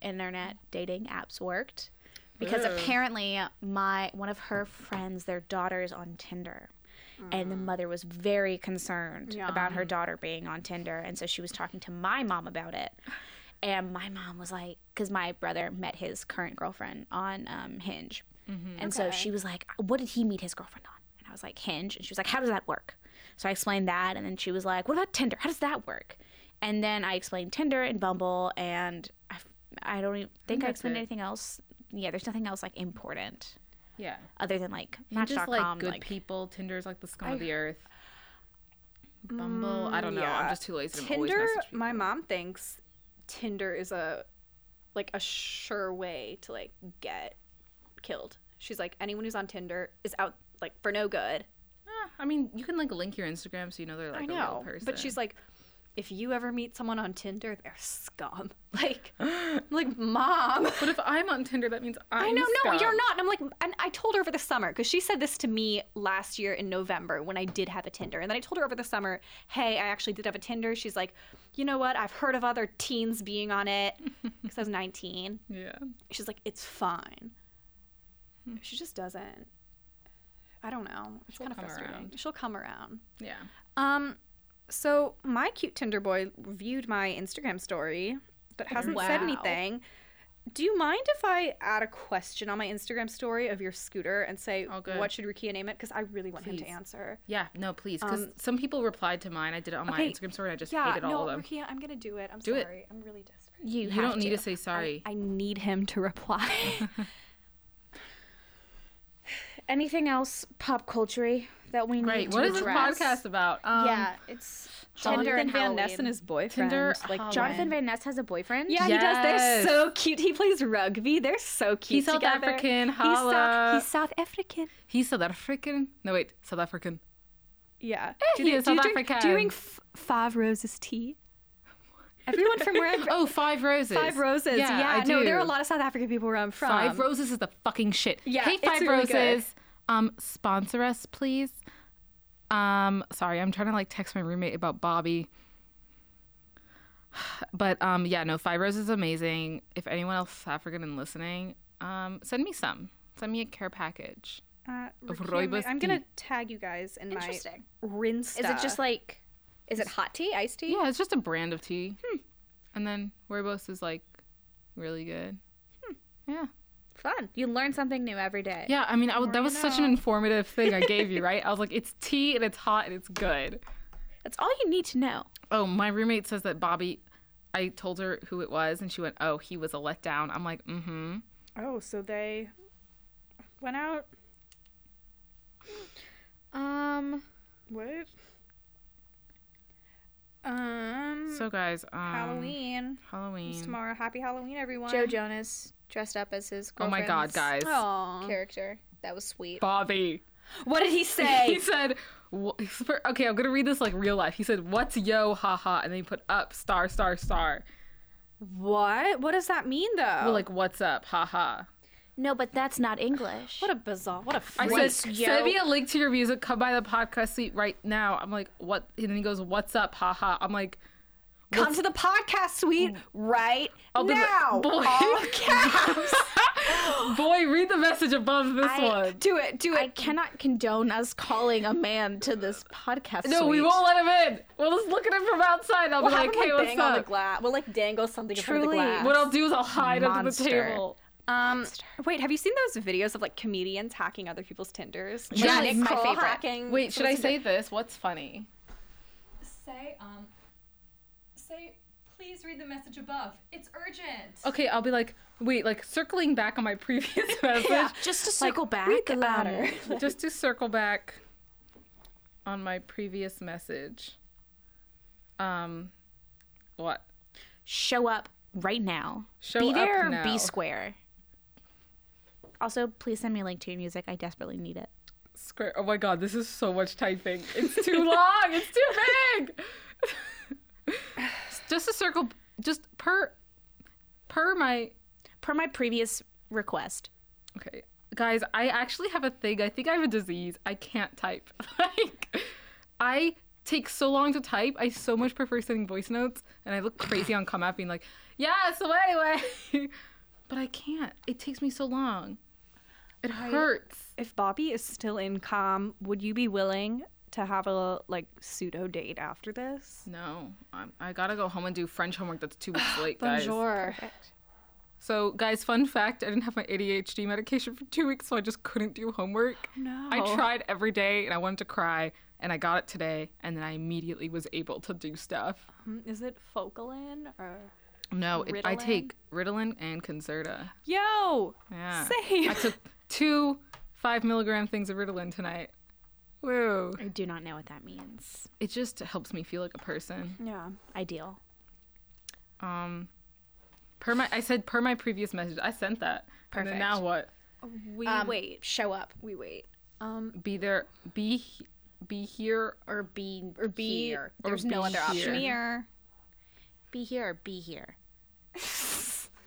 Speaker 1: internet dating apps worked because
Speaker 3: Ugh.
Speaker 1: apparently my one of her friends their daughter is on Tinder and the
Speaker 3: Mm.
Speaker 1: mother was very concerned about her daughter being on Tinder and so she was talking to my mom about it. And my mom was like cuz my brother met his current girlfriend on um, Hinge.
Speaker 3: Mm-hmm.
Speaker 1: And so she was like, What did he meet his girlfriend on? And I was like, Hinge. And she was like, How does that work? So I explained that. And then she was like, What about Tinder? How does that work? And then I explained Tinder and Bumble. And I, f- I don't even think I
Speaker 3: that's
Speaker 1: explained
Speaker 3: it.
Speaker 1: anything else. Yeah, there's nothing else like important
Speaker 3: Yeah,
Speaker 1: other than like
Speaker 3: And just
Speaker 1: Match.com.
Speaker 3: like
Speaker 1: Like,
Speaker 3: good people. Tinder's like the scum of the earth. Bumble. I don't know.
Speaker 1: Mm,
Speaker 3: I'm
Speaker 2: yeah.
Speaker 3: just too lazy. to always
Speaker 2: Tinder.
Speaker 3: message people.
Speaker 2: My mom thinks Tinder is a like a sure way to like get killed. She's like anyone who's on Tinder is out like for no good.
Speaker 3: Eh, I mean, you can like link your Instagram so you know they're like
Speaker 2: I
Speaker 3: a real
Speaker 2: know,
Speaker 3: person.
Speaker 2: but she's like, if you ever meet someone on Tinder, they're scum. Like, I'm like mom.
Speaker 3: But if I'm on Tinder, that means I'm.
Speaker 2: I know,
Speaker 3: scum.
Speaker 2: no, you're not. And I'm like, and I told her over the summer because she said this to me last year in November when I did have a Tinder. And then I told her over the summer, hey, I actually did have a Tinder. She's like, you know what? I've heard of other teens being on it because I was 19.
Speaker 3: Yeah.
Speaker 2: She's like, it's fine. She just doesn't. I don't know. It's kind of
Speaker 3: come
Speaker 2: frustrating.
Speaker 3: around.
Speaker 2: She'll come around.
Speaker 3: Yeah.
Speaker 2: Um, so my cute Tinder boy viewed my Instagram story, but hasn't said
Speaker 4: Wow.
Speaker 2: anything. Do you mind if I add a question on my Instagram story of your scooter and say
Speaker 3: All good.
Speaker 2: what should Rukia name it? Because I really want him to
Speaker 3: Please.
Speaker 2: answer.
Speaker 3: Yeah. No, please, because
Speaker 2: Um,
Speaker 3: some people replied to mine. I did it on my
Speaker 2: okay,
Speaker 3: Instagram story. and I just
Speaker 2: Yeah,
Speaker 3: hated all of
Speaker 2: no,
Speaker 3: them.
Speaker 2: Rukia, I'm gonna do it. I'm
Speaker 3: Do it.
Speaker 2: sorry. I'm really desperate.
Speaker 1: you
Speaker 3: You
Speaker 1: have
Speaker 3: don't need
Speaker 1: to.
Speaker 3: to say sorry.
Speaker 2: I need him to reply.
Speaker 1: anything else pop culture that we need
Speaker 3: Right.
Speaker 1: to
Speaker 3: What is this
Speaker 1: address?
Speaker 3: podcast about? Um,
Speaker 1: yeah, it's Tinder
Speaker 2: Jonathan
Speaker 1: and
Speaker 2: Van
Speaker 1: Halloween.
Speaker 2: Ness and oh his boyfriend.
Speaker 3: Tinder,
Speaker 2: like
Speaker 3: Halloween.
Speaker 1: Jonathan Van Ness has a boyfriend.
Speaker 2: Yeah, he does. They're
Speaker 3: Yes.
Speaker 2: so cute. He plays rugby. They're so cute.
Speaker 3: He's South
Speaker 2: together.
Speaker 3: African.
Speaker 2: He's South,
Speaker 3: Holla.
Speaker 2: he's South African.
Speaker 3: He's South African. No, wait, South African.
Speaker 2: Yeah.
Speaker 3: Do Eh, he you- is do you South drink- do you African. drink
Speaker 2: f- Five Roses tea? Everyone from where
Speaker 3: Oh, Five Roses.
Speaker 2: Five Roses. Yeah.
Speaker 3: I do.
Speaker 2: no, there are a lot of South African people where I'm from.
Speaker 3: Five Roses is the fucking shit.
Speaker 2: Yeah,
Speaker 3: Hey,
Speaker 2: it's
Speaker 3: Five
Speaker 2: really
Speaker 3: Roses.
Speaker 2: good.
Speaker 3: Um, sponsor us, please. Um, sorry, I'm trying to like text my roommate about Bobby. But um, yeah, no, Five Roses is amazing. If anyone else is African and listening, um, send me some. Send me a care package.
Speaker 2: Uh,
Speaker 3: Of
Speaker 2: Rakim,
Speaker 3: rooibos
Speaker 2: I'm gonna
Speaker 3: tea.
Speaker 2: tag you guys in my
Speaker 1: Interesting.
Speaker 2: rinse.
Speaker 1: Is it just like, is it hot tea, iced tea?
Speaker 3: Yeah, it's just a brand of tea. Hmm. And then Rooibos is like really good. Yeah.
Speaker 1: Fun. You learn something new every day.
Speaker 3: Yeah, I mean, I was, that was such an informative thing I gave you, right? I was like, it's tea and it's hot and it's good.
Speaker 1: That's all you need to know.
Speaker 3: Oh, my roommate says that Bobby, I told her who it was and she went, oh, he was a letdown. I'm like, mm hmm.
Speaker 2: Oh, so they went out.
Speaker 1: Um,
Speaker 2: What? Um,
Speaker 3: So, guys, um,
Speaker 2: Halloween. It's
Speaker 3: Halloween.
Speaker 2: tomorrow. Happy Halloween, everyone.
Speaker 1: Joe Jonas dressed up as his
Speaker 3: Oh my God,
Speaker 1: girlfriend's
Speaker 3: guys.
Speaker 2: Aw.
Speaker 1: character. That was sweet.
Speaker 3: Bobby.
Speaker 2: What did he
Speaker 3: He
Speaker 2: say?
Speaker 3: said, wh- for- okay, I'm going to read this like real life. He said, what's yo, haha? And then he put up, star, star, star.
Speaker 2: what? What does that mean, though?
Speaker 3: Well, like, what's up, haha?
Speaker 1: No, but that's not English.
Speaker 2: what a bizarre. What a.
Speaker 3: I
Speaker 2: freak.
Speaker 3: said,
Speaker 1: yo.
Speaker 3: send me a link to your music. Come by the podcast seat right now. I'm like, what? And then he goes, what's up, haha? I'm like,
Speaker 2: Come to the podcast suite right
Speaker 3: be like,
Speaker 2: now.
Speaker 3: boy.
Speaker 2: All caps.
Speaker 3: boy, read the message above this
Speaker 1: I-
Speaker 3: one.
Speaker 2: do it. Do
Speaker 1: I
Speaker 2: it.
Speaker 1: cannot condone us calling a man to this podcast.
Speaker 3: No, we
Speaker 1: suite.
Speaker 3: won't let him in. We'll just look at him from outside. I'll
Speaker 2: We'll
Speaker 3: be
Speaker 2: have
Speaker 3: like,
Speaker 2: him,
Speaker 3: hey,
Speaker 2: like,
Speaker 3: what's
Speaker 2: bang on the
Speaker 3: up?
Speaker 2: glass. We'll like dangle something in
Speaker 1: Truly.
Speaker 2: front of the glass.
Speaker 3: What I'll do is I'll hide under the
Speaker 1: Monster.
Speaker 3: table.
Speaker 2: um, wait, have you seen those videos of like comedians hacking other people's Tinders? Like,
Speaker 3: Yes.
Speaker 2: Nick
Speaker 1: My
Speaker 2: Kroll
Speaker 1: favorite.
Speaker 2: Hacking
Speaker 3: Wait, should I
Speaker 2: someone's
Speaker 3: say this? What's funny?
Speaker 2: Say um, say please read the message above. It's urgent.
Speaker 3: Okay, I'll be like, wait, like circling back on my previous message,
Speaker 1: Just to circle back.
Speaker 2: the
Speaker 1: um,
Speaker 2: ladder.
Speaker 3: just to circle back on my previous message. Um, what?
Speaker 1: Show up right now.
Speaker 3: Show
Speaker 1: be
Speaker 3: up
Speaker 1: there or
Speaker 3: now.
Speaker 1: be square. Also, please send me a link to your music. I desperately need it.
Speaker 3: Square. Oh my god, this is so much typing. It's too long. It's too big. just a circle. Just per per my.
Speaker 1: Per my previous request.
Speaker 3: Okay, guys. I actually have a thing. I think I have a disease. I can't type. like, I take so long to type. I so much prefer sending voice notes, and I look crazy on Come App being like, yeah. So anyway, but I can't. It takes me so long. It hurts.
Speaker 2: If Bobby is still in com, would you be willing to have a like pseudo date after this?
Speaker 3: No, I'm, I gotta go home and do French homework that's two weeks late, guys.
Speaker 2: Bonjour.
Speaker 3: So, guys, fun fact I didn't have my ADHD medication for two weeks, so I just couldn't do homework.
Speaker 2: Oh, No.
Speaker 3: I tried every day and I wanted to cry, and I got it today, and then I immediately was able to do stuff.
Speaker 2: Um, Is it Focalin or?
Speaker 3: No, it, I
Speaker 2: Ritalin?
Speaker 3: take Ritalin and Concerta.
Speaker 2: Yo.
Speaker 3: Yeah.
Speaker 2: Same.
Speaker 3: I took two five milligram things of Ritalin tonight. Woo.
Speaker 1: I do not know what that means.
Speaker 3: It just helps me feel like a person.
Speaker 2: Yeah.
Speaker 1: Ideal.
Speaker 3: Um, per my, I said per my previous message, I sent that. Perfect. And then now what?
Speaker 2: We wait.
Speaker 1: Show up
Speaker 2: We wait. Um.
Speaker 3: Be there, be, he- be here.
Speaker 1: or be or be
Speaker 3: Here. Or
Speaker 1: There's
Speaker 3: be
Speaker 1: no other option.
Speaker 3: here.
Speaker 2: Here.
Speaker 1: Be here or be here.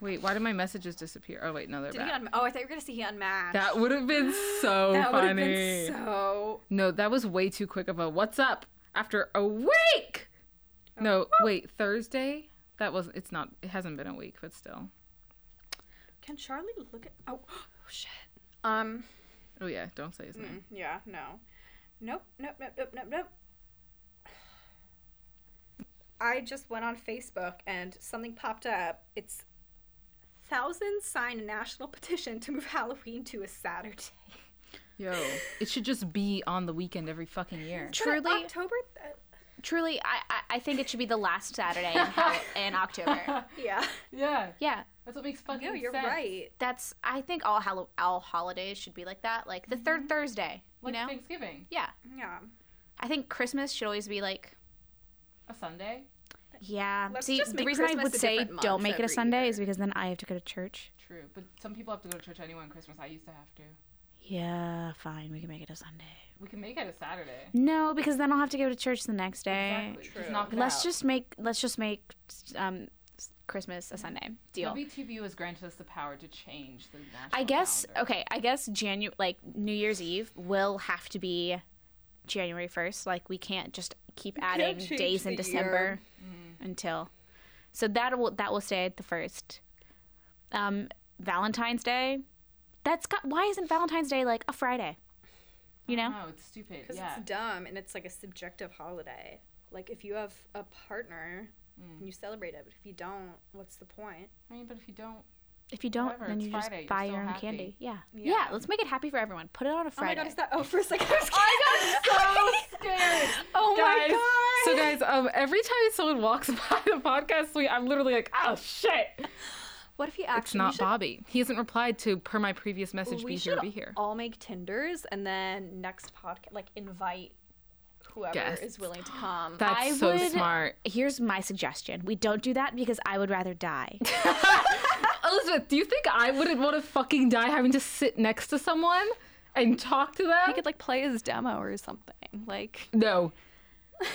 Speaker 3: Wait, why did my messages disappear? Oh wait, no, they're
Speaker 2: Did
Speaker 3: back.
Speaker 2: he un- oh, I thought you were gonna see he unmasked.
Speaker 3: that would have been so
Speaker 2: That would
Speaker 3: funny.
Speaker 2: have been so.
Speaker 3: No, that was way too quick of a what's up after a week. No, wait, Thursday. That was. It's not. It hasn't been a week, but still.
Speaker 2: Can Charlie look at? Oh, shit. Um.
Speaker 3: Oh yeah, don't say his name.
Speaker 2: Yeah. No. Nope. Nope. Nope. Nope. Nope. Nope. I just went on Facebook and something popped up. It's thousands sign a national petition to move Halloween to a Saturday.
Speaker 3: Yo, it should just be on the weekend every fucking year.
Speaker 2: But
Speaker 1: Truly,
Speaker 2: October. Th-
Speaker 1: truly, I, I I think it should be the last Saturday in, Hall- in October.
Speaker 2: yeah.
Speaker 3: Yeah,
Speaker 1: Yeah,
Speaker 3: that's what makes fucking
Speaker 2: No, you're
Speaker 3: sense.
Speaker 2: right.
Speaker 1: that's. I think all Hallow- all holidays should be like that, like the third Thursday. You
Speaker 3: Like
Speaker 1: know?
Speaker 3: Thanksgiving,
Speaker 1: Yeah,
Speaker 2: Yeah.
Speaker 1: I think Christmas should always be like.
Speaker 3: a Sunday.
Speaker 1: Yeah.
Speaker 2: Let's
Speaker 1: See,
Speaker 2: just
Speaker 1: the
Speaker 2: make
Speaker 1: reason I
Speaker 2: Christmas
Speaker 1: would
Speaker 2: a
Speaker 1: say
Speaker 2: different
Speaker 1: don't
Speaker 2: month
Speaker 1: make it a
Speaker 2: every
Speaker 1: Sunday
Speaker 2: year.
Speaker 1: is because then I have to go to church.
Speaker 3: True, but some people have to go to church anyway on Christmas. I used to have to.
Speaker 1: Yeah, fine. We can make it a Sunday.
Speaker 3: We can make it a Saturday.
Speaker 1: No, because then I'll have to go to church the next day.
Speaker 3: Exactly. Just knock it
Speaker 1: Let's
Speaker 3: out.
Speaker 1: just make. Let's just make. Um, s- Christmas a Sunday deal.
Speaker 3: WTBU has granted us the power to change the national
Speaker 1: I guess
Speaker 3: calendar.
Speaker 1: okay. I guess January, like New Year's Eve, will have to be January first. Like we can't just keep adding
Speaker 2: change
Speaker 1: days in
Speaker 2: the
Speaker 1: December until. So that will that will stay at the first. Um, Valentine's Day. That's got. Why isn't Valentine's Day like a Friday? You know.
Speaker 3: No, it's stupid.
Speaker 2: Because
Speaker 3: Yeah.
Speaker 2: it's dumb and it's like a subjective holiday. Like if you have a partner,
Speaker 3: Hmm.
Speaker 2: and you celebrate it. But if you don't, what's the point?
Speaker 3: I mean, but if you don't,
Speaker 1: If you don't,
Speaker 3: Whatever,
Speaker 1: then
Speaker 3: it's
Speaker 1: you
Speaker 3: Friday,
Speaker 1: just
Speaker 3: you're
Speaker 1: buy
Speaker 3: still
Speaker 1: your own
Speaker 3: happy.
Speaker 1: candy. Yeah. yeah. Let's make it happy for everyone. Put it on a Friday.
Speaker 2: Oh my god! Is that? Oh, for a second, I was I got
Speaker 3: oh
Speaker 2: my
Speaker 3: So guys, um, every time someone walks by the podcast suite, I'm literally like, oh shit.
Speaker 2: What if you
Speaker 3: It's
Speaker 2: actually?
Speaker 3: not Bobby. He hasn't replied to per my previous message.
Speaker 2: We
Speaker 3: be
Speaker 2: should
Speaker 3: here, be here.
Speaker 2: all make Tinders and then next podcast, like invite whoever
Speaker 3: Guests.
Speaker 2: is willing to come.
Speaker 3: That's
Speaker 1: I
Speaker 3: so
Speaker 1: would-
Speaker 3: smart.
Speaker 1: Here's my suggestion. We don't do that because I would rather die.
Speaker 3: Elizabeth, do you think I wouldn't want to fucking die having to sit next to someone and talk to them?
Speaker 4: He could like play his demo or something. Like
Speaker 3: No.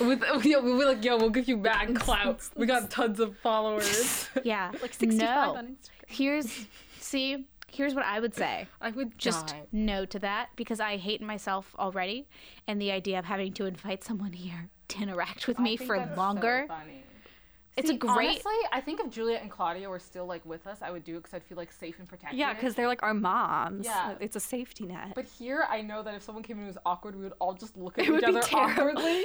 Speaker 3: With yo, we're like, yo, we'll give you mad clout. We got tons of followers.
Speaker 1: Yeah.
Speaker 2: like 65
Speaker 1: no.
Speaker 2: on Instagram.
Speaker 1: Here's see, here's what I would say.
Speaker 3: I would
Speaker 1: Just
Speaker 3: die.
Speaker 1: no to that because I hate myself already and the idea of having to invite someone here to interact with me for longer. It's a great-
Speaker 3: Honestly, I think if Juliet and Claudia were still like with us, I would do it because I'd feel like safe and protected.
Speaker 2: Yeah, because they're like our moms.
Speaker 3: Yeah.
Speaker 2: It's a safety net.
Speaker 3: But here, I know that if someone came in who was awkward, we would all just look at
Speaker 4: would
Speaker 3: each
Speaker 4: be
Speaker 3: other
Speaker 4: terrible.
Speaker 3: awkwardly,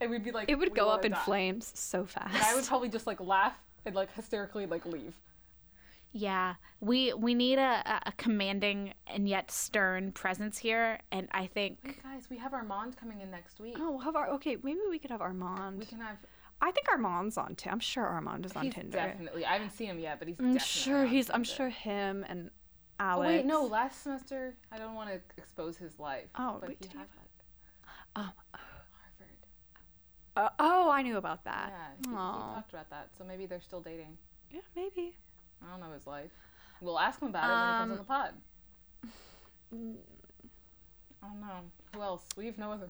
Speaker 3: and we'd be like,
Speaker 4: it would
Speaker 3: "We
Speaker 4: go
Speaker 3: wanna
Speaker 4: up in
Speaker 3: die."
Speaker 4: flames so
Speaker 3: And I would
Speaker 4: fast.
Speaker 3: probably just like laugh and like hysterically like leave.
Speaker 1: Yeah. We we need a, a- a commanding and yet stern presence here and I think
Speaker 3: Guys, we have Armand coming in next week.
Speaker 2: oh, we'll have our okay. Maybe we could have Armand.
Speaker 3: We can have.
Speaker 2: I think Armand's on. T- I'm sure Armand is on
Speaker 3: he's
Speaker 2: Tinder.
Speaker 3: definitely. I haven't seen him yet, but he's.
Speaker 2: I'm
Speaker 3: definitely
Speaker 2: sure
Speaker 3: on
Speaker 2: he's. I'm
Speaker 3: Tinder.
Speaker 2: sure him and
Speaker 3: Oh,
Speaker 2: Alex.
Speaker 3: Wait, no. Last semester, I don't want to expose his life.
Speaker 2: Oh, Um,
Speaker 3: but
Speaker 2: wait,
Speaker 3: he
Speaker 2: did he
Speaker 3: had
Speaker 2: have-
Speaker 3: like
Speaker 2: Oh,
Speaker 3: Harvard.
Speaker 2: Uh, oh, I I knew about that.
Speaker 3: Yeah, he, he
Speaker 2: Aw.
Speaker 3: talked about that. So maybe they're still dating.
Speaker 2: Yeah, maybe.
Speaker 3: I don't know his life. We'll ask him about it when he comes on
Speaker 2: Um,
Speaker 3: the pod. I don't know. Who else? We have no other.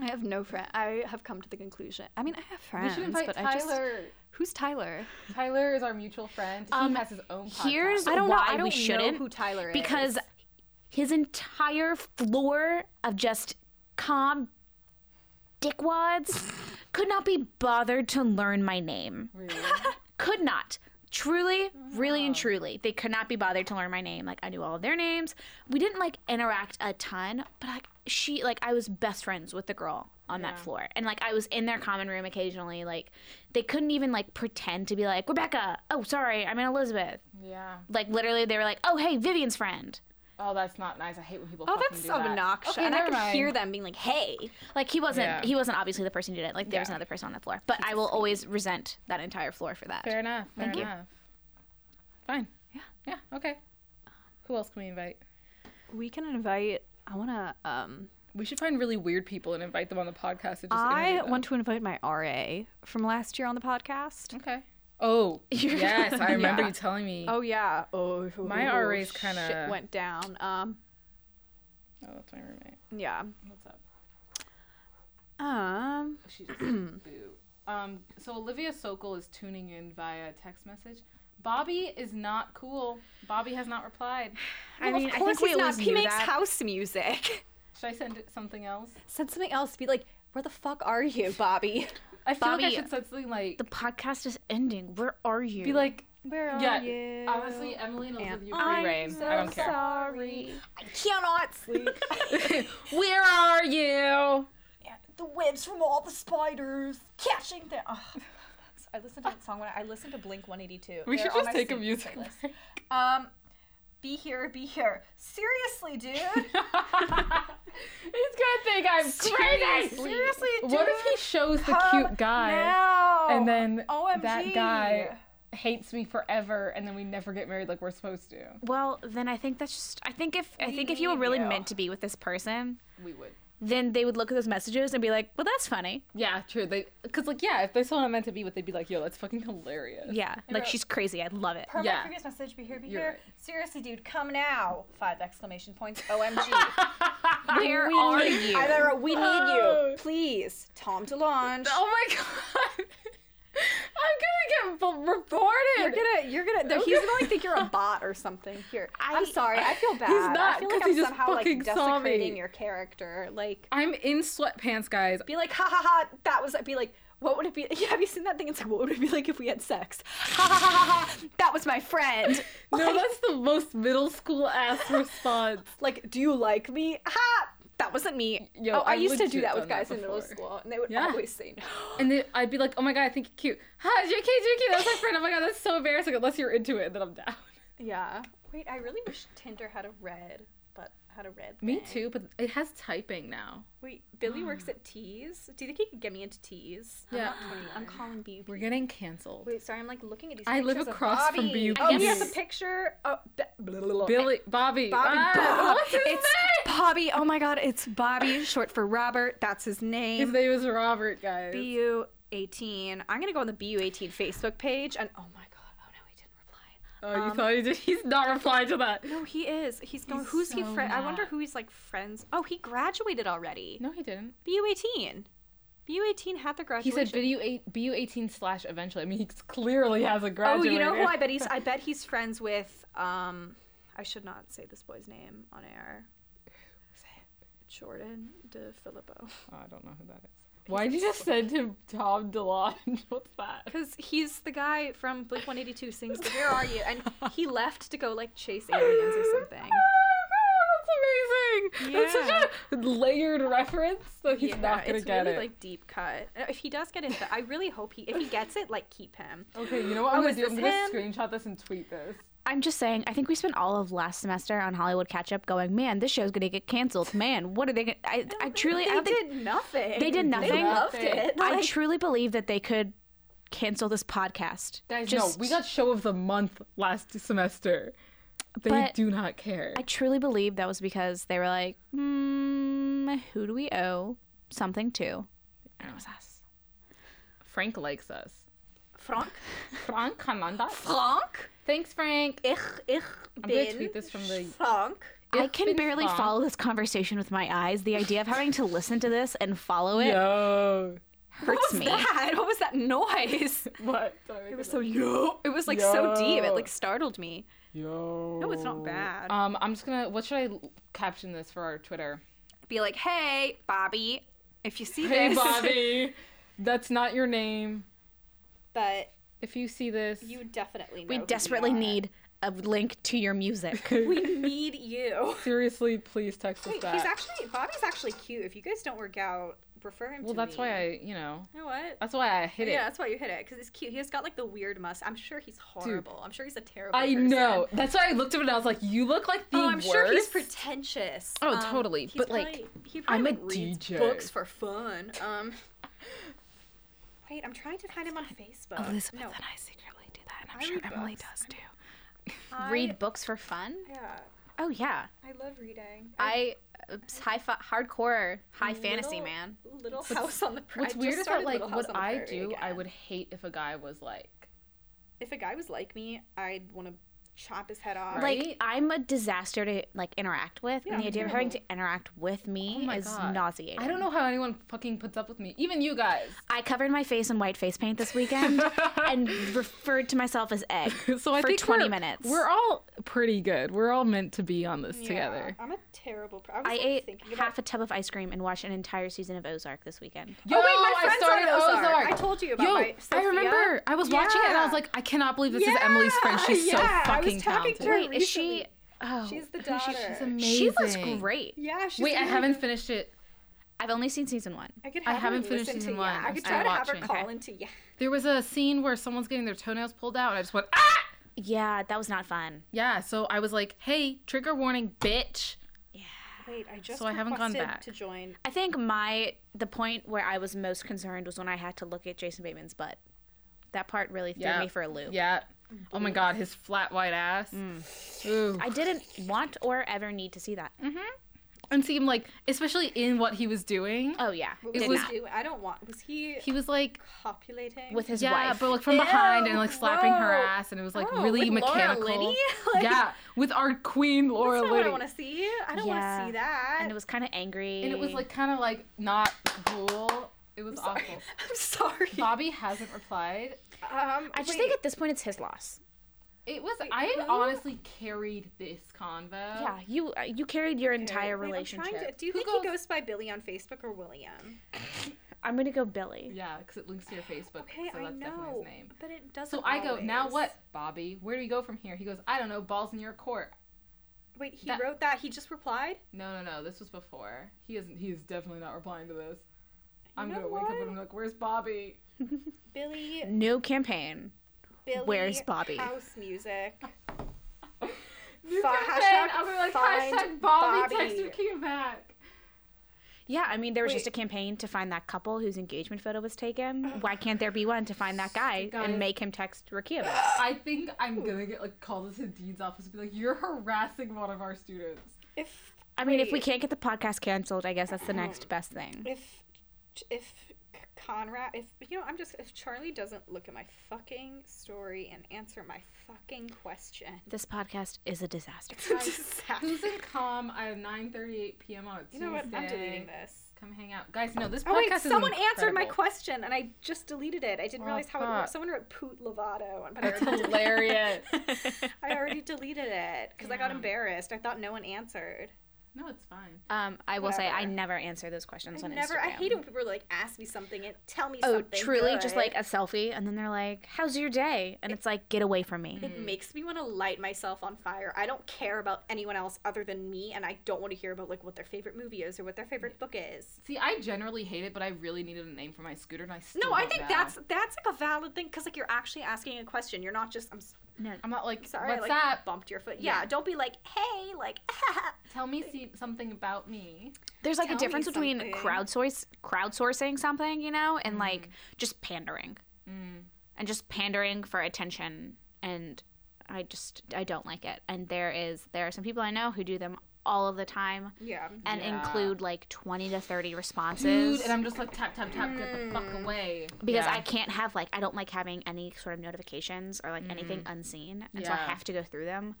Speaker 2: I have no friend. I have come to the conclusion. I mean, I have friends,
Speaker 3: we should invite
Speaker 2: but I just
Speaker 3: Tyler.
Speaker 2: who's Tyler?
Speaker 3: Tyler is our mutual friend. He
Speaker 1: Um,
Speaker 3: has his own podcast.
Speaker 1: here's
Speaker 2: I don't know-
Speaker 1: why
Speaker 2: I don't know
Speaker 1: we shouldn't
Speaker 2: who Tyler is.
Speaker 1: because his entire floor of just calm dickwads could not be bothered to learn my name.
Speaker 3: Really?
Speaker 1: Could not. Truly, really, and truly, they could not be bothered to learn my name. Like I knew all of their names. We didn't like interact a ton, but like she, like I was best friends with the girl on that floor, and like I was in their common room occasionally. Like they couldn't even like pretend to be like Rebecca. Oh, sorry, I'm in Elizabeth.
Speaker 3: yeah.
Speaker 1: Like literally, they were like, "Oh, hey, Vivian's friend."
Speaker 3: Oh, that's not nice. I hate when people.
Speaker 2: Oh,
Speaker 3: fucking
Speaker 2: that's
Speaker 3: do that.
Speaker 2: obnoxious.
Speaker 3: Okay,
Speaker 2: and I
Speaker 3: never
Speaker 2: could
Speaker 3: mind.
Speaker 2: hear them being like, "Hey,
Speaker 1: Like he wasn't
Speaker 3: Yeah.
Speaker 1: he wasn't obviously the person who did it. Like there was
Speaker 3: Yeah.
Speaker 1: another person on the floor. But I will always resent that entire floor for that.
Speaker 3: Fair enough. Fair
Speaker 1: Thank you.
Speaker 3: enough. Fine.
Speaker 2: Yeah.
Speaker 3: Yeah. Okay. Who else can we invite?
Speaker 2: we can invite." I want to. Um,
Speaker 3: We should find really weird people and invite them on the podcast. And just
Speaker 2: I
Speaker 3: interview them.
Speaker 2: want to invite my RA from last year on the podcast.
Speaker 3: Okay. Oh yes, I remember you telling me.
Speaker 2: Oh yeah. Oh,
Speaker 3: My
Speaker 2: oh,
Speaker 3: RA's
Speaker 2: shit
Speaker 3: kinda-
Speaker 2: went down. Um,
Speaker 3: Oh, that's my roommate.
Speaker 2: yeah.
Speaker 3: What's up?
Speaker 2: Um,
Speaker 3: She just said boo. Um, so Olivia Sokol is tuning in via text message. Bobby is not cool. Bobby has not replied.
Speaker 1: I mean,
Speaker 2: of course
Speaker 1: we
Speaker 2: he's not.
Speaker 1: always
Speaker 2: He
Speaker 1: knew
Speaker 2: makes
Speaker 1: that.
Speaker 2: house music.
Speaker 3: Should I send it something else?
Speaker 2: Said something else. Be like, "Where the fuck are you, Bobby?
Speaker 3: I feel like I
Speaker 1: Bobby-
Speaker 3: should send something like
Speaker 1: the podcast is ending. Where are you?
Speaker 3: be like
Speaker 2: Where are
Speaker 3: yeah.
Speaker 2: you?"
Speaker 3: Honestly, Emily knows with you free
Speaker 2: I'm
Speaker 3: reign.
Speaker 2: so
Speaker 3: I don't care.
Speaker 2: sorry. I cannot sleep.
Speaker 3: Where are you?
Speaker 2: the webs from all the spiders catching them. I listened to that song when I, I listened to Blink 182.
Speaker 3: We
Speaker 2: They're
Speaker 3: should
Speaker 2: on
Speaker 3: just
Speaker 2: my
Speaker 3: take a
Speaker 2: sleep
Speaker 3: music
Speaker 2: playlist.
Speaker 3: break.
Speaker 2: Um, be here, be here. Seriously, dude.
Speaker 3: He's gonna think I'm crazy.
Speaker 2: Seriously, dude.
Speaker 3: What if he shows the
Speaker 2: Come
Speaker 3: cute guy
Speaker 2: now.
Speaker 3: and then
Speaker 2: OMG.
Speaker 3: that guy hates me forever and then we never get married like we're supposed to?
Speaker 1: well, then I think that's just I think if I think if you were
Speaker 2: need
Speaker 1: really
Speaker 2: you.
Speaker 1: meant to be with this person,
Speaker 3: We would.
Speaker 1: then they would look at those messages and be like, "Well, that's funny."
Speaker 3: Yeah, true. They, cause like, yeah, if they still not meant to be with, they'd be like, yo, that's fucking hilarious.
Speaker 1: Yeah. Like she's crazy. I love it.
Speaker 2: Per
Speaker 3: Yeah.
Speaker 2: my previous message, be here, be
Speaker 3: You're
Speaker 2: here.
Speaker 3: right.
Speaker 2: Seriously, dude, come now. Five exclamation points. OMG.
Speaker 1: Where are you?
Speaker 2: Either we need you. Please. Tom DeLonge.
Speaker 3: Oh my god. I'm gonna get b- reported.
Speaker 2: You're gonna, you're gonna.
Speaker 3: Okay.
Speaker 2: He's gonna like think you're a bot or something. Here, I, am sorry. I feel bad.
Speaker 3: not,
Speaker 2: I feel
Speaker 3: 'cause
Speaker 2: like
Speaker 3: he
Speaker 2: I'm
Speaker 3: just
Speaker 2: somehow
Speaker 3: fucking
Speaker 2: like
Speaker 3: saw me.
Speaker 2: desecrating your character. Like,
Speaker 3: I'm in sweatpants, guys.
Speaker 2: be like, ha ha ha. That was. Be like, what would it be? Yeah, have you seen that thing? It's like, what would it be like if we had sex? Ha ha ha ha. ha. That was my friend.
Speaker 3: No, that's the most middle school ass response.
Speaker 2: Like, do you like me? Ha. That wasn't me.
Speaker 3: Yo,
Speaker 2: oh, I,
Speaker 3: I've
Speaker 2: used to
Speaker 3: legit
Speaker 2: do that
Speaker 3: done
Speaker 2: with
Speaker 3: that
Speaker 2: guys in middle
Speaker 3: before.
Speaker 2: school, and they would
Speaker 3: Yeah.
Speaker 2: always say no.
Speaker 3: And then I'd be like, oh my god, I think you're cute. Hi, JK, JK, that's my friend. Oh my god, that's so embarrassing. Unless you're into it, then I'm down.
Speaker 2: Yeah. Wait, I really wish Tinder had a red, but had a red.
Speaker 3: Me
Speaker 2: thing.
Speaker 3: too, but it has typing now.
Speaker 2: Wait, Billy works at Tees. Do you think he could get me into Tees?
Speaker 3: Hmm. Yeah.
Speaker 2: I'm not 20. I'm calling BUP.
Speaker 3: We're getting canceled.
Speaker 2: Wait, sorry. I'm like looking at these.
Speaker 3: I live
Speaker 2: pictures of
Speaker 3: across from
Speaker 2: Bobby.
Speaker 3: BUP.
Speaker 2: Oh, he
Speaker 1: Yes.
Speaker 2: has a picture. Oh, b- blah, blah, blah.
Speaker 3: Billy, Bobby,
Speaker 2: Bobby.
Speaker 3: ah,
Speaker 2: Bob.
Speaker 3: what's his
Speaker 2: it's
Speaker 3: name?
Speaker 2: Bobby. Oh my God, it's Bobby, short for Robert. That's his
Speaker 3: His
Speaker 2: name.
Speaker 3: name is Robert, guys.
Speaker 2: BU eighteen. I'm gonna go on the BU eighteen Facebook page and oh my God. Oh no,
Speaker 3: oh,
Speaker 2: he didn't reply.
Speaker 3: you thought he did? He's not replying to that.
Speaker 2: No, he is. He's going. who's he
Speaker 3: so
Speaker 2: friend? I wonder
Speaker 3: mad.
Speaker 2: who he's like friends. Oh, he graduated already.
Speaker 3: No, he didn't.
Speaker 2: BU eighteen. BU eighteen had the
Speaker 3: He
Speaker 2: graduation.
Speaker 3: said video eight, BU eighteen slash eventually. I mean, he clearly has a
Speaker 2: Oh,
Speaker 3: graduate.
Speaker 2: you know who I bet he's I bet he's friends with um I should not say this boy's name on air. Jordan DeFilippo.
Speaker 3: Oh, I don't know who that is. Why did you just send him Tom DeLonge? What's that?
Speaker 2: Because he's the guy from Blink 182 sings the Where Are You? And he left to go like chase aliens or something.
Speaker 3: Oh my God, That's amazing. That's such a layered reference that he's
Speaker 2: Yeah,
Speaker 3: not gonna
Speaker 2: it's
Speaker 3: get
Speaker 2: really
Speaker 3: it.
Speaker 2: like deep cut. Uh, If he does get into I really hope he if he gets it, like keep him.
Speaker 3: okay, you know what I'm
Speaker 2: Oh,
Speaker 3: gonna
Speaker 2: is
Speaker 3: do? I'm
Speaker 2: this
Speaker 3: gonna
Speaker 2: him?
Speaker 3: screenshot this and tweet this.
Speaker 1: I'm just saying, I think we spent all of last semester on Hollywood catch up going, "Man, this show's going to get canceled. Man, what are they going to I I truly I
Speaker 2: They
Speaker 1: don't think
Speaker 2: did nothing.
Speaker 1: They did
Speaker 2: They
Speaker 1: nothing?
Speaker 2: loved
Speaker 3: Nothing.
Speaker 2: it.
Speaker 1: I
Speaker 2: Like,
Speaker 1: truly believe that they could cancel this podcast.
Speaker 3: Guys, no, we got show of the month last semester. They
Speaker 1: But-
Speaker 3: do not care.
Speaker 1: I truly believe that was because they were like, hmm, who do we owe something to? And it was us.
Speaker 3: Frank likes us.
Speaker 2: Frank?
Speaker 3: Frank Hananda.
Speaker 2: Frank?
Speaker 3: Thanks, Frank.
Speaker 2: Ich, ich
Speaker 3: I'm gonna tweet this from the.
Speaker 2: Frank.
Speaker 1: I
Speaker 3: Ich
Speaker 1: can
Speaker 3: bin
Speaker 1: barely
Speaker 3: Frank.
Speaker 1: follow this conversation with my eyes. The idea of having to listen to this and follow it
Speaker 3: Yo.
Speaker 1: hurts me.
Speaker 4: Dad, what was that noise?
Speaker 3: What? Sorry.
Speaker 4: It was so yo. It was like so deep. It like startled me.
Speaker 3: Yo.
Speaker 2: No, it's not bad.
Speaker 3: Um, I'm just gonna. What should I l- caption this for our Twitter?
Speaker 4: Be like, hey, Bobby, if you see
Speaker 3: Hey,
Speaker 4: this,
Speaker 3: Bobby. That's not your name.
Speaker 2: but
Speaker 3: If you see this,
Speaker 2: you definitely know.
Speaker 1: We
Speaker 2: who
Speaker 1: desperately
Speaker 2: are.
Speaker 1: need a link to your music.
Speaker 2: We need you.
Speaker 3: seriously, please text us
Speaker 2: Wait,
Speaker 3: back.
Speaker 2: he's actually Bobby's actually cute. If you guys don't work out, refer him
Speaker 3: well,
Speaker 2: to
Speaker 3: that's
Speaker 2: me.
Speaker 3: why I, you know,
Speaker 2: You know what?
Speaker 3: that's why I hit
Speaker 2: yeah,
Speaker 3: it.
Speaker 2: that's why you hit it because it's cute. He's got like the weird must. I'm sure he's horrible. I'm sure he's a terrible.
Speaker 3: I
Speaker 2: person.
Speaker 3: know. That's why I looked at it and I was like, you look like the
Speaker 2: Oh, I'm
Speaker 3: worst.
Speaker 2: sure he's pretentious.
Speaker 3: Oh, totally,
Speaker 2: he's
Speaker 3: but, like,
Speaker 2: probably- he probably,
Speaker 3: I'm a
Speaker 2: like, reads
Speaker 3: DJ.
Speaker 2: Books for fun. Um. Wait, I'm trying to find him on Facebook.
Speaker 1: Elizabeth
Speaker 2: no,
Speaker 1: and I secretly do that, and I'm
Speaker 2: I
Speaker 1: sure
Speaker 2: read
Speaker 1: Emily
Speaker 2: books.
Speaker 1: does too.
Speaker 2: I-
Speaker 1: Read books for fun?
Speaker 2: Yeah,
Speaker 1: Oh yeah,
Speaker 2: I love reading.
Speaker 1: I it's high fi- hardcore high fantasy
Speaker 2: Little-
Speaker 1: man.
Speaker 2: Little House on the Prairie.
Speaker 3: What's weird is that, like, what I do, I would hate if a guy was like,
Speaker 2: If a guy was like me, I'd want to chop his head off.
Speaker 1: Like
Speaker 3: Right?
Speaker 1: I'm a disaster to like interact with, and the idea of having to interact with me
Speaker 3: Oh my
Speaker 1: is
Speaker 3: God.
Speaker 1: nauseating.
Speaker 3: I don't know how anyone fucking puts up with me. Even you guys.
Speaker 1: I covered my face in white face paint this weekend and referred to myself as egg
Speaker 3: So I
Speaker 1: for
Speaker 3: think
Speaker 1: 20
Speaker 3: we're-
Speaker 1: minutes.
Speaker 3: We're all pretty good. We're all meant to be on this
Speaker 2: Yeah, Oh,
Speaker 3: together.
Speaker 2: I'm a terrible. Pro-
Speaker 1: I
Speaker 2: I, was, like,
Speaker 1: ate
Speaker 2: thinking about-
Speaker 1: half a tub of ice cream and watched an entire season of Ozark this weekend.
Speaker 3: Yo,
Speaker 2: wait, my friend's on Ozark. I told you about
Speaker 3: Yo,
Speaker 2: my
Speaker 3: I remember.
Speaker 2: Sophia.
Speaker 3: I was watching it and I was
Speaker 2: Yeah.
Speaker 3: like, I cannot believe this is
Speaker 2: Yeah,
Speaker 3: Emily's friend. She's
Speaker 2: yeah,
Speaker 3: so
Speaker 2: I was
Speaker 3: fucking
Speaker 2: talking
Speaker 3: talented.
Speaker 2: to her
Speaker 1: Wait, is she?
Speaker 2: recently.
Speaker 1: Oh,
Speaker 2: She's
Speaker 1: who
Speaker 2: the
Speaker 1: is she?
Speaker 2: daughter.
Speaker 3: She's amazing.
Speaker 1: She was great.
Speaker 2: Yeah, she's
Speaker 3: Wait, I
Speaker 2: really
Speaker 3: haven't
Speaker 2: good.
Speaker 3: finished it.
Speaker 1: I've only seen season one.
Speaker 2: I could
Speaker 3: I
Speaker 2: have her
Speaker 3: haven't finished
Speaker 2: listen to
Speaker 3: season
Speaker 2: ya.
Speaker 3: one.
Speaker 2: I
Speaker 3: I'm
Speaker 2: could try to have her
Speaker 3: watching.
Speaker 2: call into yeah.
Speaker 3: There was a scene where someone's getting their toenails pulled out, and I just went ah.
Speaker 1: Yeah, that was not fun.
Speaker 3: Yeah, so I was like, hey, trigger warning, bitch.
Speaker 2: Wait, I just
Speaker 3: So I haven't gone
Speaker 2: requested
Speaker 3: back.
Speaker 2: to join.
Speaker 1: I think my the point where I was most concerned was when I had to look at Jason Bateman's butt. That part really threw
Speaker 3: Yeah.
Speaker 1: me for a loop.
Speaker 3: Yeah. Oh my god, his flat white ass.
Speaker 2: Mm.
Speaker 3: Ooh.
Speaker 1: I didn't want or ever need to see that.
Speaker 3: And seemed like, especially in what he was doing,
Speaker 1: Oh yeah,
Speaker 2: It
Speaker 1: did
Speaker 2: was.
Speaker 1: not.
Speaker 2: do- I don't want. Was he,
Speaker 3: he was like
Speaker 2: copulating?
Speaker 1: with his
Speaker 3: yeah,
Speaker 1: wife.
Speaker 3: but like from behind
Speaker 2: Ew,
Speaker 3: and like slapping her
Speaker 2: gross.
Speaker 3: ass, and it was like
Speaker 2: Oh,
Speaker 3: really
Speaker 2: with Laura
Speaker 3: mechanical.
Speaker 2: Linney? Like,
Speaker 3: yeah, with our queen Laura
Speaker 2: That's not what I
Speaker 3: Liddy.
Speaker 2: want to see. I don't
Speaker 1: Yeah.
Speaker 2: want to see that.
Speaker 1: and it was kind of angry.
Speaker 3: And it was like kind of like not cool. It was awful.
Speaker 2: I'm sorry.
Speaker 3: Bobby hasn't replied.
Speaker 2: Um,
Speaker 1: I just
Speaker 2: wait.
Speaker 1: think at this point it's his loss.
Speaker 3: It was
Speaker 2: Wait,
Speaker 3: I
Speaker 2: who?
Speaker 3: honestly carried this convo.
Speaker 1: Yeah, you uh, you carried your entire
Speaker 2: Wait, I'm trying
Speaker 1: relationship.
Speaker 2: to- do you
Speaker 3: Who
Speaker 2: think he
Speaker 3: goes-
Speaker 2: goes by Billy on Facebook or William?
Speaker 1: I'm gonna go Billy.
Speaker 3: Yeah, because it links to your Facebook,
Speaker 2: Okay,
Speaker 3: so
Speaker 2: I
Speaker 3: that's definitely
Speaker 2: know,
Speaker 3: his name.
Speaker 2: but it doesn't.
Speaker 3: So I go now.
Speaker 2: always.
Speaker 3: What, Bobby? Where do we go from here? He goes. I don't know. Balls in your court.
Speaker 2: Wait, he
Speaker 3: that-
Speaker 2: wrote that. He just replied.
Speaker 3: No, no, no. This was before. He isn't. He's definitely not replying to this. I'm
Speaker 2: know
Speaker 3: gonna wake up
Speaker 2: what?
Speaker 3: and I'm like, where's Bobby?
Speaker 2: Billy,
Speaker 1: No campaign.
Speaker 2: Billy.
Speaker 1: Where's Bobby?
Speaker 2: House music.
Speaker 3: New
Speaker 2: Fi-
Speaker 3: campaign.
Speaker 2: hashtag
Speaker 3: I'm gonna like
Speaker 2: find
Speaker 3: hashtag Bobby.
Speaker 2: Bobby.
Speaker 3: Text Rakia back.
Speaker 1: Yeah, I mean there was just a
Speaker 2: Wait.
Speaker 1: campaign to find that couple whose engagement photo was taken. Why can't there be one to find that guy
Speaker 3: Guys.
Speaker 1: and make him text Rakia? back?
Speaker 3: I think I'm gonna get like called to the dean's office and be like, you're harassing one of our students.
Speaker 2: If
Speaker 1: I mean, if we
Speaker 2: Wait.
Speaker 1: can't get the podcast canceled, I guess that's the next best thing.
Speaker 2: if if Conrad, if you know, I'm just if Charlie doesn't look at my fucking story and answer my fucking question.
Speaker 1: This podcast is a disaster.
Speaker 3: Who's in com at 9:38 p.m. on a Tuesday?
Speaker 2: You know what? I'm deleting this.
Speaker 3: Come hang out, guys. No, this podcast
Speaker 2: Oh wait,
Speaker 3: is
Speaker 2: someone answered my
Speaker 3: incredible.
Speaker 2: question and I just deleted it. I didn't
Speaker 3: Well,
Speaker 2: realize how it
Speaker 3: fuck.
Speaker 2: worked. Someone wrote Poot Lovato, but I
Speaker 3: That's
Speaker 2: already,
Speaker 3: hilarious.
Speaker 2: I already deleted it because I got embarrassed. I thought no one answered.
Speaker 3: no, it's fine.
Speaker 1: Um, I will say I
Speaker 2: Whatever.
Speaker 1: never answer those questions
Speaker 2: I
Speaker 1: on
Speaker 2: never.
Speaker 1: Instagram.
Speaker 2: I hate it when people are like, ask me something and tell me
Speaker 1: Oh,
Speaker 2: something.
Speaker 1: truly, just
Speaker 2: good."
Speaker 1: like a selfie, and then they're like, "How's your day?" And it's like, "Get away from me."
Speaker 3: Mm.
Speaker 2: It makes me want to light myself on fire. I don't care about anyone else other than me, and I don't want to hear about like what their favorite movie is or what their favorite book is.
Speaker 3: See, I generally hate it, but I really needed a name for my scooter, and I still
Speaker 2: No, I
Speaker 3: don't
Speaker 2: think
Speaker 3: know.
Speaker 2: that's that's like a valid thing because like you're actually asking a question. You're not just I'm s-
Speaker 3: I'm not like
Speaker 2: sorry, I,
Speaker 3: what's
Speaker 2: like,
Speaker 3: that?
Speaker 2: Bumped your foot. Yeah, don't be like, hey, like.
Speaker 3: Tell me see, something about me.
Speaker 1: There's like
Speaker 2: Tell
Speaker 1: a
Speaker 2: me
Speaker 1: difference between
Speaker 2: something.
Speaker 1: crowdsource crowdsourcing something, you know, and like
Speaker 2: Mm-hmm.
Speaker 1: just pandering
Speaker 3: Mm.
Speaker 1: and just pandering for attention. And I just I don't like it. And there is there are some people I know who do them all of the time
Speaker 2: Yeah.
Speaker 1: and
Speaker 3: Yeah.
Speaker 1: include like 20 to 30 responses
Speaker 3: Dude, and I'm just like tap tap tap, get the
Speaker 2: Hmm.
Speaker 3: fuck away.
Speaker 1: because
Speaker 3: Yeah.
Speaker 1: I can't have like I don't like having any sort of notifications or like anything unseen, and so I
Speaker 3: Mm. Yeah.
Speaker 1: have to go through them.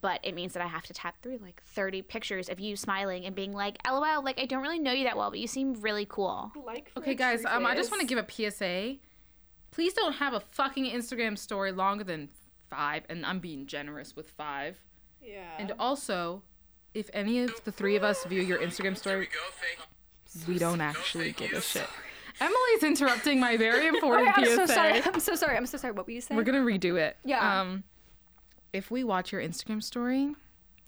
Speaker 1: But it means that I have to tap through like 30 pictures of you smiling and being like, "LOL, like I don't really know you that well, but you seem really cool."
Speaker 2: Like
Speaker 3: Okay, guys, um, I just want to give a PSA. Please don't have a fucking Instagram story longer than five, and I'm being generous with five.
Speaker 2: Yeah.
Speaker 3: And also, if any of the three of us view your Instagram story, we don't actually give a shit. Emily's interrupting my very important
Speaker 4: I'm
Speaker 3: PSA.
Speaker 4: so sorry. I'm so sorry. I'm so sorry. What were you saying?
Speaker 3: We're gonna redo it.
Speaker 4: Yeah.
Speaker 3: Um, if we watch your Instagram story,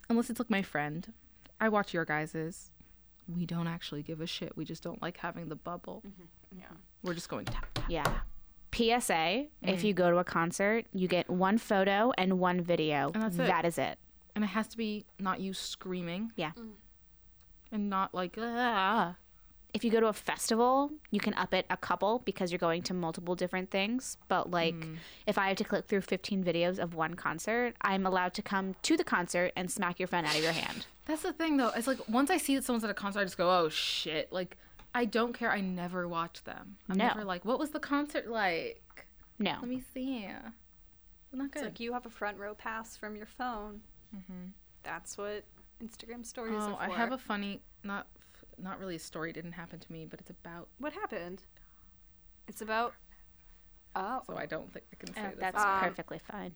Speaker 3: unless it's like my friend, I watch your guys's. We don't actually give a shit. We just don't like having the bubble.
Speaker 1: Mm-hmm.
Speaker 3: Yeah. Mm. We're just going tap tap.
Speaker 1: Yeah. PSA: If you go to a concert, you get one photo and one video.
Speaker 3: And that's it.
Speaker 1: That is it.
Speaker 3: and it has to be not you screaming.
Speaker 1: Yeah.
Speaker 3: And not like ah.
Speaker 1: If you go to a festival, you can up it a couple because you're going to multiple different things. But like, if I have to click through 15 videos of one concert, I'm allowed to come to the concert and smack your phone out of your hand.
Speaker 3: That's the thing though. It's like once I see that someone's at a concert, I just go, oh shit. Like I don't care. I never watch them. I'm
Speaker 1: No.
Speaker 3: never like, what was the concert like?
Speaker 1: No.
Speaker 3: Let me see. Not good. Mm-hmm.
Speaker 2: It's like you have a front row pass from your phone. That's what Instagram stories
Speaker 3: oh,
Speaker 2: are for.
Speaker 3: I have a funny not not really a story. Didn't happen to me, but it's about.
Speaker 2: What happened? It's about. Oh.
Speaker 3: So I don't think I can say
Speaker 1: Oh,
Speaker 3: this.
Speaker 1: that's
Speaker 2: Um,
Speaker 1: perfectly fine.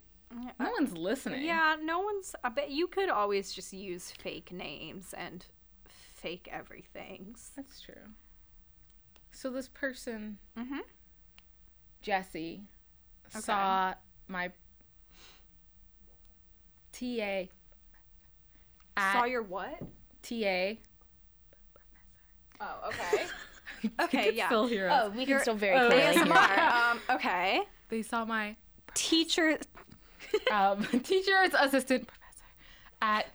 Speaker 3: no one's listening.
Speaker 2: Yeah, no one's. I bet you could always just use fake names and fake everything's.
Speaker 3: That's true. So this person,
Speaker 2: Mhm.
Speaker 3: Jesse, saw my TA at
Speaker 2: Saw your what?
Speaker 3: TA.
Speaker 2: Oh, okay.
Speaker 3: I
Speaker 2: Okay,
Speaker 3: can
Speaker 2: yeah.
Speaker 3: Still hear us.
Speaker 1: Oh, we can still very
Speaker 3: oh,
Speaker 1: clearly
Speaker 3: yeah.
Speaker 1: hear.
Speaker 2: ASMR. um, okay.
Speaker 3: They saw my
Speaker 2: Teacher.
Speaker 3: um, teacher's assistant professor at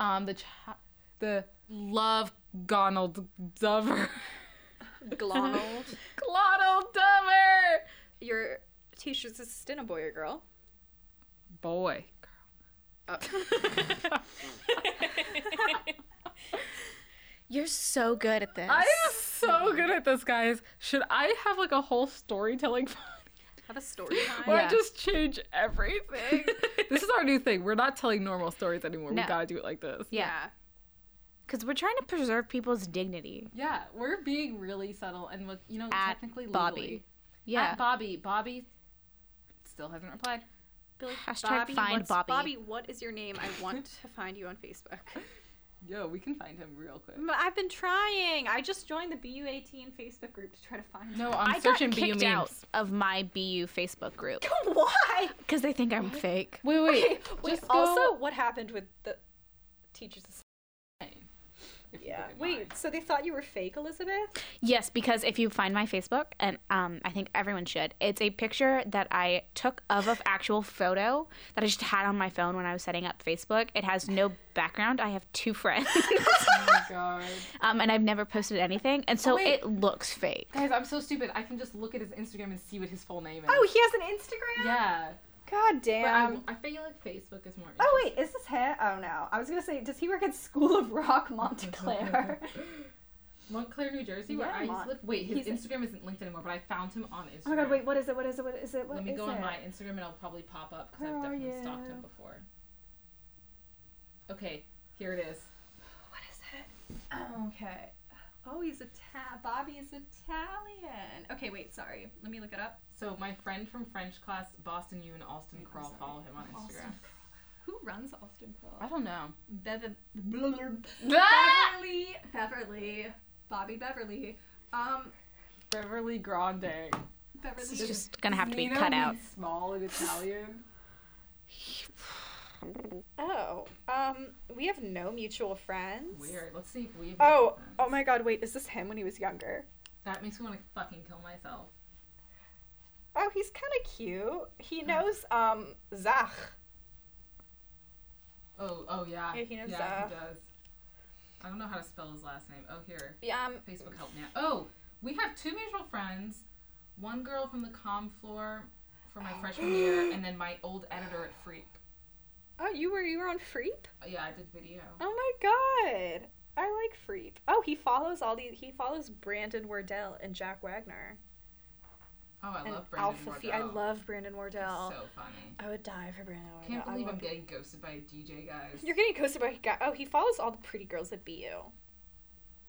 Speaker 3: um, the cha- the Love Gonald Dover.
Speaker 2: Glonald.
Speaker 3: Glottal Dover!
Speaker 2: your teacher's assistant, a boy or girl?
Speaker 3: Boy.
Speaker 1: You're so good at this.
Speaker 3: I am so good at this, guys. Should I have like a whole storytelling
Speaker 2: Have a story time.
Speaker 3: Or
Speaker 1: Yeah.
Speaker 3: just change everything. this is our new thing. We're not telling normal stories anymore.
Speaker 1: No.
Speaker 3: We gotta do it like this.
Speaker 2: yeah.
Speaker 1: Because we're trying to preserve people's dignity.
Speaker 3: Yeah, we're being really subtle and with you know
Speaker 1: At
Speaker 3: technically
Speaker 1: Bobby.
Speaker 3: legally.
Speaker 1: Yeah.
Speaker 3: At Bobby. Bobby still hasn't replied.
Speaker 2: Billy,
Speaker 1: Hashtag
Speaker 2: Bobby,
Speaker 1: find
Speaker 2: what's-
Speaker 1: Bobby.
Speaker 2: Bobby, what is your name? I want to find you on Facebook.
Speaker 3: Yo, we can find him real quick.
Speaker 2: Mm, I've been trying. I just joined the BU18 Facebook group to try to find
Speaker 3: No, I'm
Speaker 1: I got
Speaker 3: searching
Speaker 1: kicked
Speaker 3: BU memes.
Speaker 1: out of my BU Facebook group
Speaker 2: you. Why?
Speaker 1: because they think I'm fake.
Speaker 3: Wait, wait.
Speaker 2: Wait,
Speaker 3: just
Speaker 2: also,
Speaker 3: go- Oh
Speaker 2: what happened with the teacher's assistant?
Speaker 3: If you
Speaker 2: Yeah.
Speaker 3: look at mine.
Speaker 2: Wait, so they thought you were fake, Elizabeth?
Speaker 1: Yes, because if you find my Facebook, and um, I think everyone should, it's a picture that I took of an actual photo that I just had on my phone when I was setting up Facebook. It has no background. I have two friends,
Speaker 3: Oh my god.
Speaker 1: um, and I've never posted anything, and so
Speaker 3: wait.
Speaker 1: it looks fake.
Speaker 3: Guys, I'm so stupid. I can just look at his Instagram and see what his full name is.
Speaker 2: Oh, he has an Instagram?
Speaker 3: yeah.
Speaker 2: God damn.
Speaker 3: but I, I feel like Facebook is more.
Speaker 2: Oh wait, is this him? Oh no, I was gonna say, does he work at School of Rock, Montclair? Oh
Speaker 3: Montclair, New Jersey, where
Speaker 2: Yeah,
Speaker 3: I used
Speaker 2: Mont-
Speaker 3: to live. Wait, his
Speaker 2: he's-
Speaker 3: Instagram isn't linked anymore, but I found him on Instagram.
Speaker 2: oh my god, wait, what is it? What is it? What is it? What
Speaker 3: Let me
Speaker 2: is
Speaker 3: go
Speaker 2: it?
Speaker 3: on my Instagram and it'll probably pop up because
Speaker 2: Where
Speaker 3: I've
Speaker 2: are
Speaker 3: definitely stalked him
Speaker 2: you?
Speaker 3: before. Okay, here it is.
Speaker 2: What is it? Oh, okay. Oh, he's Italian. Bobby is Italian. Okay, wait, sorry. Let me look it up.
Speaker 3: So my friend from French class, Boston U and Alston Crawl, follow him on Instagram.
Speaker 2: Alston Who runs Austin
Speaker 3: I
Speaker 2: Pearl?
Speaker 3: don't know.
Speaker 2: Bev- Beverly. Beverly. Bobby Beverly. Um,
Speaker 3: Beverly Grande.
Speaker 2: Beverly.
Speaker 1: It's just gonna have to be
Speaker 3: Nino
Speaker 1: cut out.
Speaker 3: means Small in Italian.
Speaker 2: Oh, um, we have no mutual friends.
Speaker 3: Weird. Let's see if we. have
Speaker 2: Oh,
Speaker 3: mutual
Speaker 2: oh
Speaker 3: friends.
Speaker 2: my god, wait, is this him when he was younger?
Speaker 3: That makes me want to fucking kill myself.
Speaker 2: Oh, he's kind of cute. He knows, um, Zach.
Speaker 3: Oh, oh yeah.
Speaker 2: Yeah, he knows
Speaker 3: yeah,
Speaker 2: that.
Speaker 3: he does. I don't know how to spell his last name. Oh, here.
Speaker 2: Yeah, um,
Speaker 3: Facebook help me out. Oh, we have two mutual friends. One
Speaker 2: Oh.
Speaker 3: girl from the comm floor for my freshman year, and then my old editor at Freep.
Speaker 2: Oh, you were you were on Freep?
Speaker 3: Yeah, I did video.
Speaker 2: Oh my god. I like Freep. Oh, he follows all these he follows Brandon Wardell and Jack Wagner.
Speaker 3: Oh, I
Speaker 2: And
Speaker 3: love Brandon
Speaker 2: Alpha Phi. I
Speaker 3: Wardell.
Speaker 2: love Brandon
Speaker 3: So
Speaker 2: Wardell.
Speaker 3: funny.
Speaker 2: I would die for Brandon Wardell.
Speaker 3: Can't
Speaker 2: I
Speaker 3: believe
Speaker 2: love
Speaker 3: I'm getting ghosted by a DJ, guys.
Speaker 2: You're getting ghosted by a guy. Oh, he follows all the pretty girls at BU,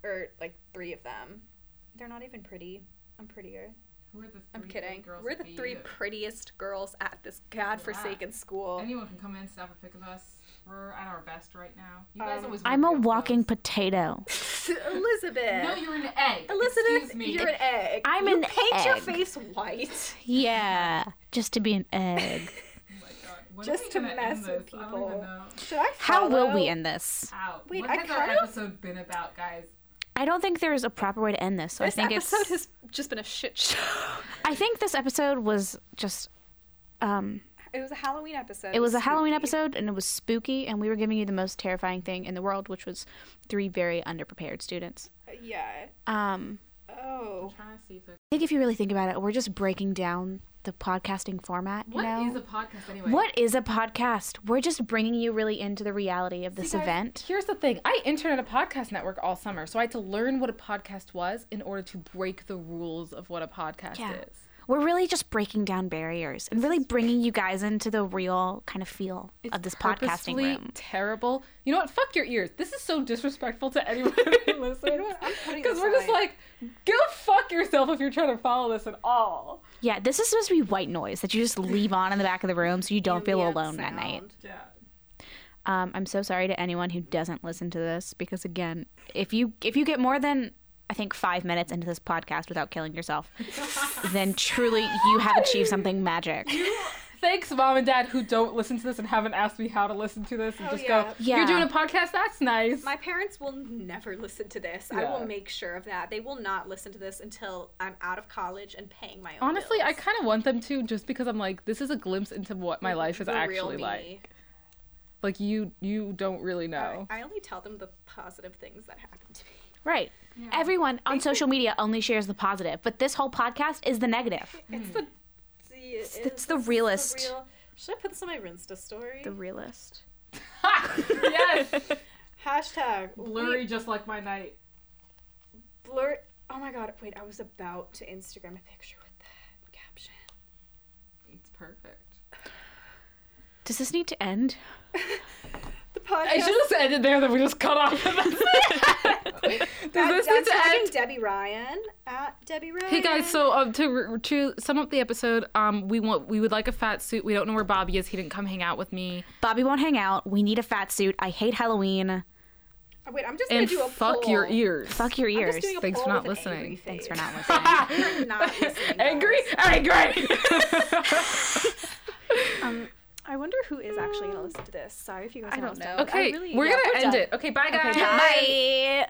Speaker 2: or like three of them. They're not even pretty. I'm prettier.
Speaker 3: Who are the 3
Speaker 2: I'm
Speaker 3: pretty
Speaker 2: kidding.
Speaker 3: Girls
Speaker 2: We're
Speaker 3: at
Speaker 2: the three
Speaker 3: BU?
Speaker 2: prettiest girls at this godforsaken school.
Speaker 3: Anyone can come in, snap a pic of us. We're at our best right now. You guys
Speaker 2: Um,
Speaker 3: always.
Speaker 1: I'm a
Speaker 3: were real
Speaker 1: walking
Speaker 3: close.
Speaker 1: potato.
Speaker 2: Elizabeth.
Speaker 3: No, you're an egg.
Speaker 2: Elizabeth,
Speaker 3: Excuse me.
Speaker 2: you're an egg.
Speaker 1: I'm
Speaker 2: you
Speaker 1: an
Speaker 2: paint your
Speaker 1: egg.
Speaker 2: face white.
Speaker 1: Yeah, just to be an egg.
Speaker 3: Oh my God. When are
Speaker 2: Just
Speaker 3: we
Speaker 2: to
Speaker 3: gonna end
Speaker 2: mess with
Speaker 3: this? I don't
Speaker 2: people.
Speaker 3: even know.
Speaker 2: Should I
Speaker 1: How will we
Speaker 2: follow-
Speaker 1: end this?
Speaker 3: Ow.
Speaker 2: Wait,
Speaker 3: what
Speaker 2: I
Speaker 3: has our
Speaker 2: kind of-
Speaker 3: episode been about, guys?
Speaker 1: I don't think there's a proper way to end this. So I
Speaker 2: This
Speaker 1: think
Speaker 2: episode
Speaker 1: it's.
Speaker 2: has just been a shit show.
Speaker 1: I think this episode was just. Um,
Speaker 2: it was a Halloween episode.
Speaker 1: it was a Halloween
Speaker 2: spooky.
Speaker 1: episode, and it was spooky, and we were giving you the most terrifying thing in the world, which was three very underprepared students.
Speaker 2: Yeah.
Speaker 1: Um,
Speaker 2: Oh.
Speaker 3: I'm trying to see if there's.
Speaker 1: I think if you really think about it, we're just breaking down the podcasting format. You
Speaker 3: What is
Speaker 1: know?
Speaker 3: a podcast anyway?
Speaker 1: What is a podcast? We're just bringing you really into the reality of this
Speaker 3: See, guys,
Speaker 1: event.
Speaker 3: Here's the thing. I interned at a podcast network all summer, so I had to learn what a podcast was in order to break the rules of what a podcast
Speaker 1: Yeah.
Speaker 3: is.
Speaker 1: We're really just breaking down barriers and really bringing you guys into the real kind of feel of this podcasting
Speaker 3: purposefully
Speaker 1: room.
Speaker 3: Terrible. You know what? Fuck your ears. This is so disrespectful to anyone who listens.
Speaker 2: putting
Speaker 3: Because
Speaker 2: this
Speaker 3: we're just
Speaker 2: away.
Speaker 3: like, go fuck yourself if you're trying to follow this at all.
Speaker 1: Yeah, this is supposed to be white noise that you just leave on in the back of the room so you don't feel
Speaker 2: Ambient
Speaker 1: alone at night.
Speaker 2: sound.
Speaker 3: Yeah.
Speaker 1: Um, I'm so sorry to anyone who doesn't listen to this because again, if you if you get more than I think five minutes into this podcast without killing yourself, then truly you have achieved something magic.
Speaker 3: Thanks, mom and dad, who don't listen to this and haven't asked me how to listen to this and
Speaker 2: Oh,
Speaker 3: just go,
Speaker 2: yeah.
Speaker 1: Yeah.
Speaker 3: you're doing a podcast? That's nice.
Speaker 2: My parents will never listen to this. I
Speaker 3: Yeah.
Speaker 2: will make sure of that. They will not listen to this until I'm out of college and paying my own.
Speaker 3: Honestly, I
Speaker 2: bills.
Speaker 3: kind of want them to just because I'm like, this is a glimpse into what my life is
Speaker 2: The real
Speaker 3: actually
Speaker 2: me.
Speaker 3: like. Like you, you don't really know.
Speaker 2: I only tell them the positive things that happen to me.
Speaker 1: Right. Everyone on social media only shares the positive, but this whole podcast is the negative.
Speaker 2: It's the, the it's,
Speaker 1: the realest.
Speaker 2: real- Should I put this on my Insta story?
Speaker 1: The realist.
Speaker 3: yes,
Speaker 2: Hashtag
Speaker 3: blurry,
Speaker 2: wait,
Speaker 3: just like my night.
Speaker 2: blur. Oh my god! Wait, I was about to Instagram a picture with that caption.
Speaker 3: It's perfect.
Speaker 1: Does this need to end?
Speaker 2: The
Speaker 3: I
Speaker 2: podcast.
Speaker 3: should have ended there. Then we just cut off.
Speaker 2: At-
Speaker 3: Does this
Speaker 2: I'm
Speaker 3: need to
Speaker 2: tagging
Speaker 3: end?
Speaker 2: Debbie Ryan at Debbie Ryan.
Speaker 3: Hey guys, so um, to re- to sum up the episode, um, we want we would like a fat suit. We don't know where Bobby is. He didn't come hang out with me.
Speaker 1: Bobby won't hang out. We need a fat suit. I hate Halloween.
Speaker 2: Oh, wait, I'm just
Speaker 3: And
Speaker 2: gonna do a
Speaker 3: fuck
Speaker 2: poll.
Speaker 3: your ears.
Speaker 1: Fuck your
Speaker 2: I'm
Speaker 1: ears.
Speaker 2: just doing a
Speaker 3: Thanks for
Speaker 2: poll
Speaker 3: not
Speaker 2: with an angry
Speaker 3: listening.
Speaker 1: Thanks for
Speaker 2: face.
Speaker 1: not listening.
Speaker 2: for not listening.
Speaker 3: Angry,
Speaker 2: guys.
Speaker 3: angry.
Speaker 2: I wonder who is actually gonna listen to this. Sorry if you guys.
Speaker 4: I don't know.
Speaker 3: okay,
Speaker 4: I really-
Speaker 3: we're
Speaker 4: yeah,
Speaker 3: gonna
Speaker 4: we're
Speaker 3: end
Speaker 4: done.
Speaker 3: it. Okay, bye guys.
Speaker 1: Bye.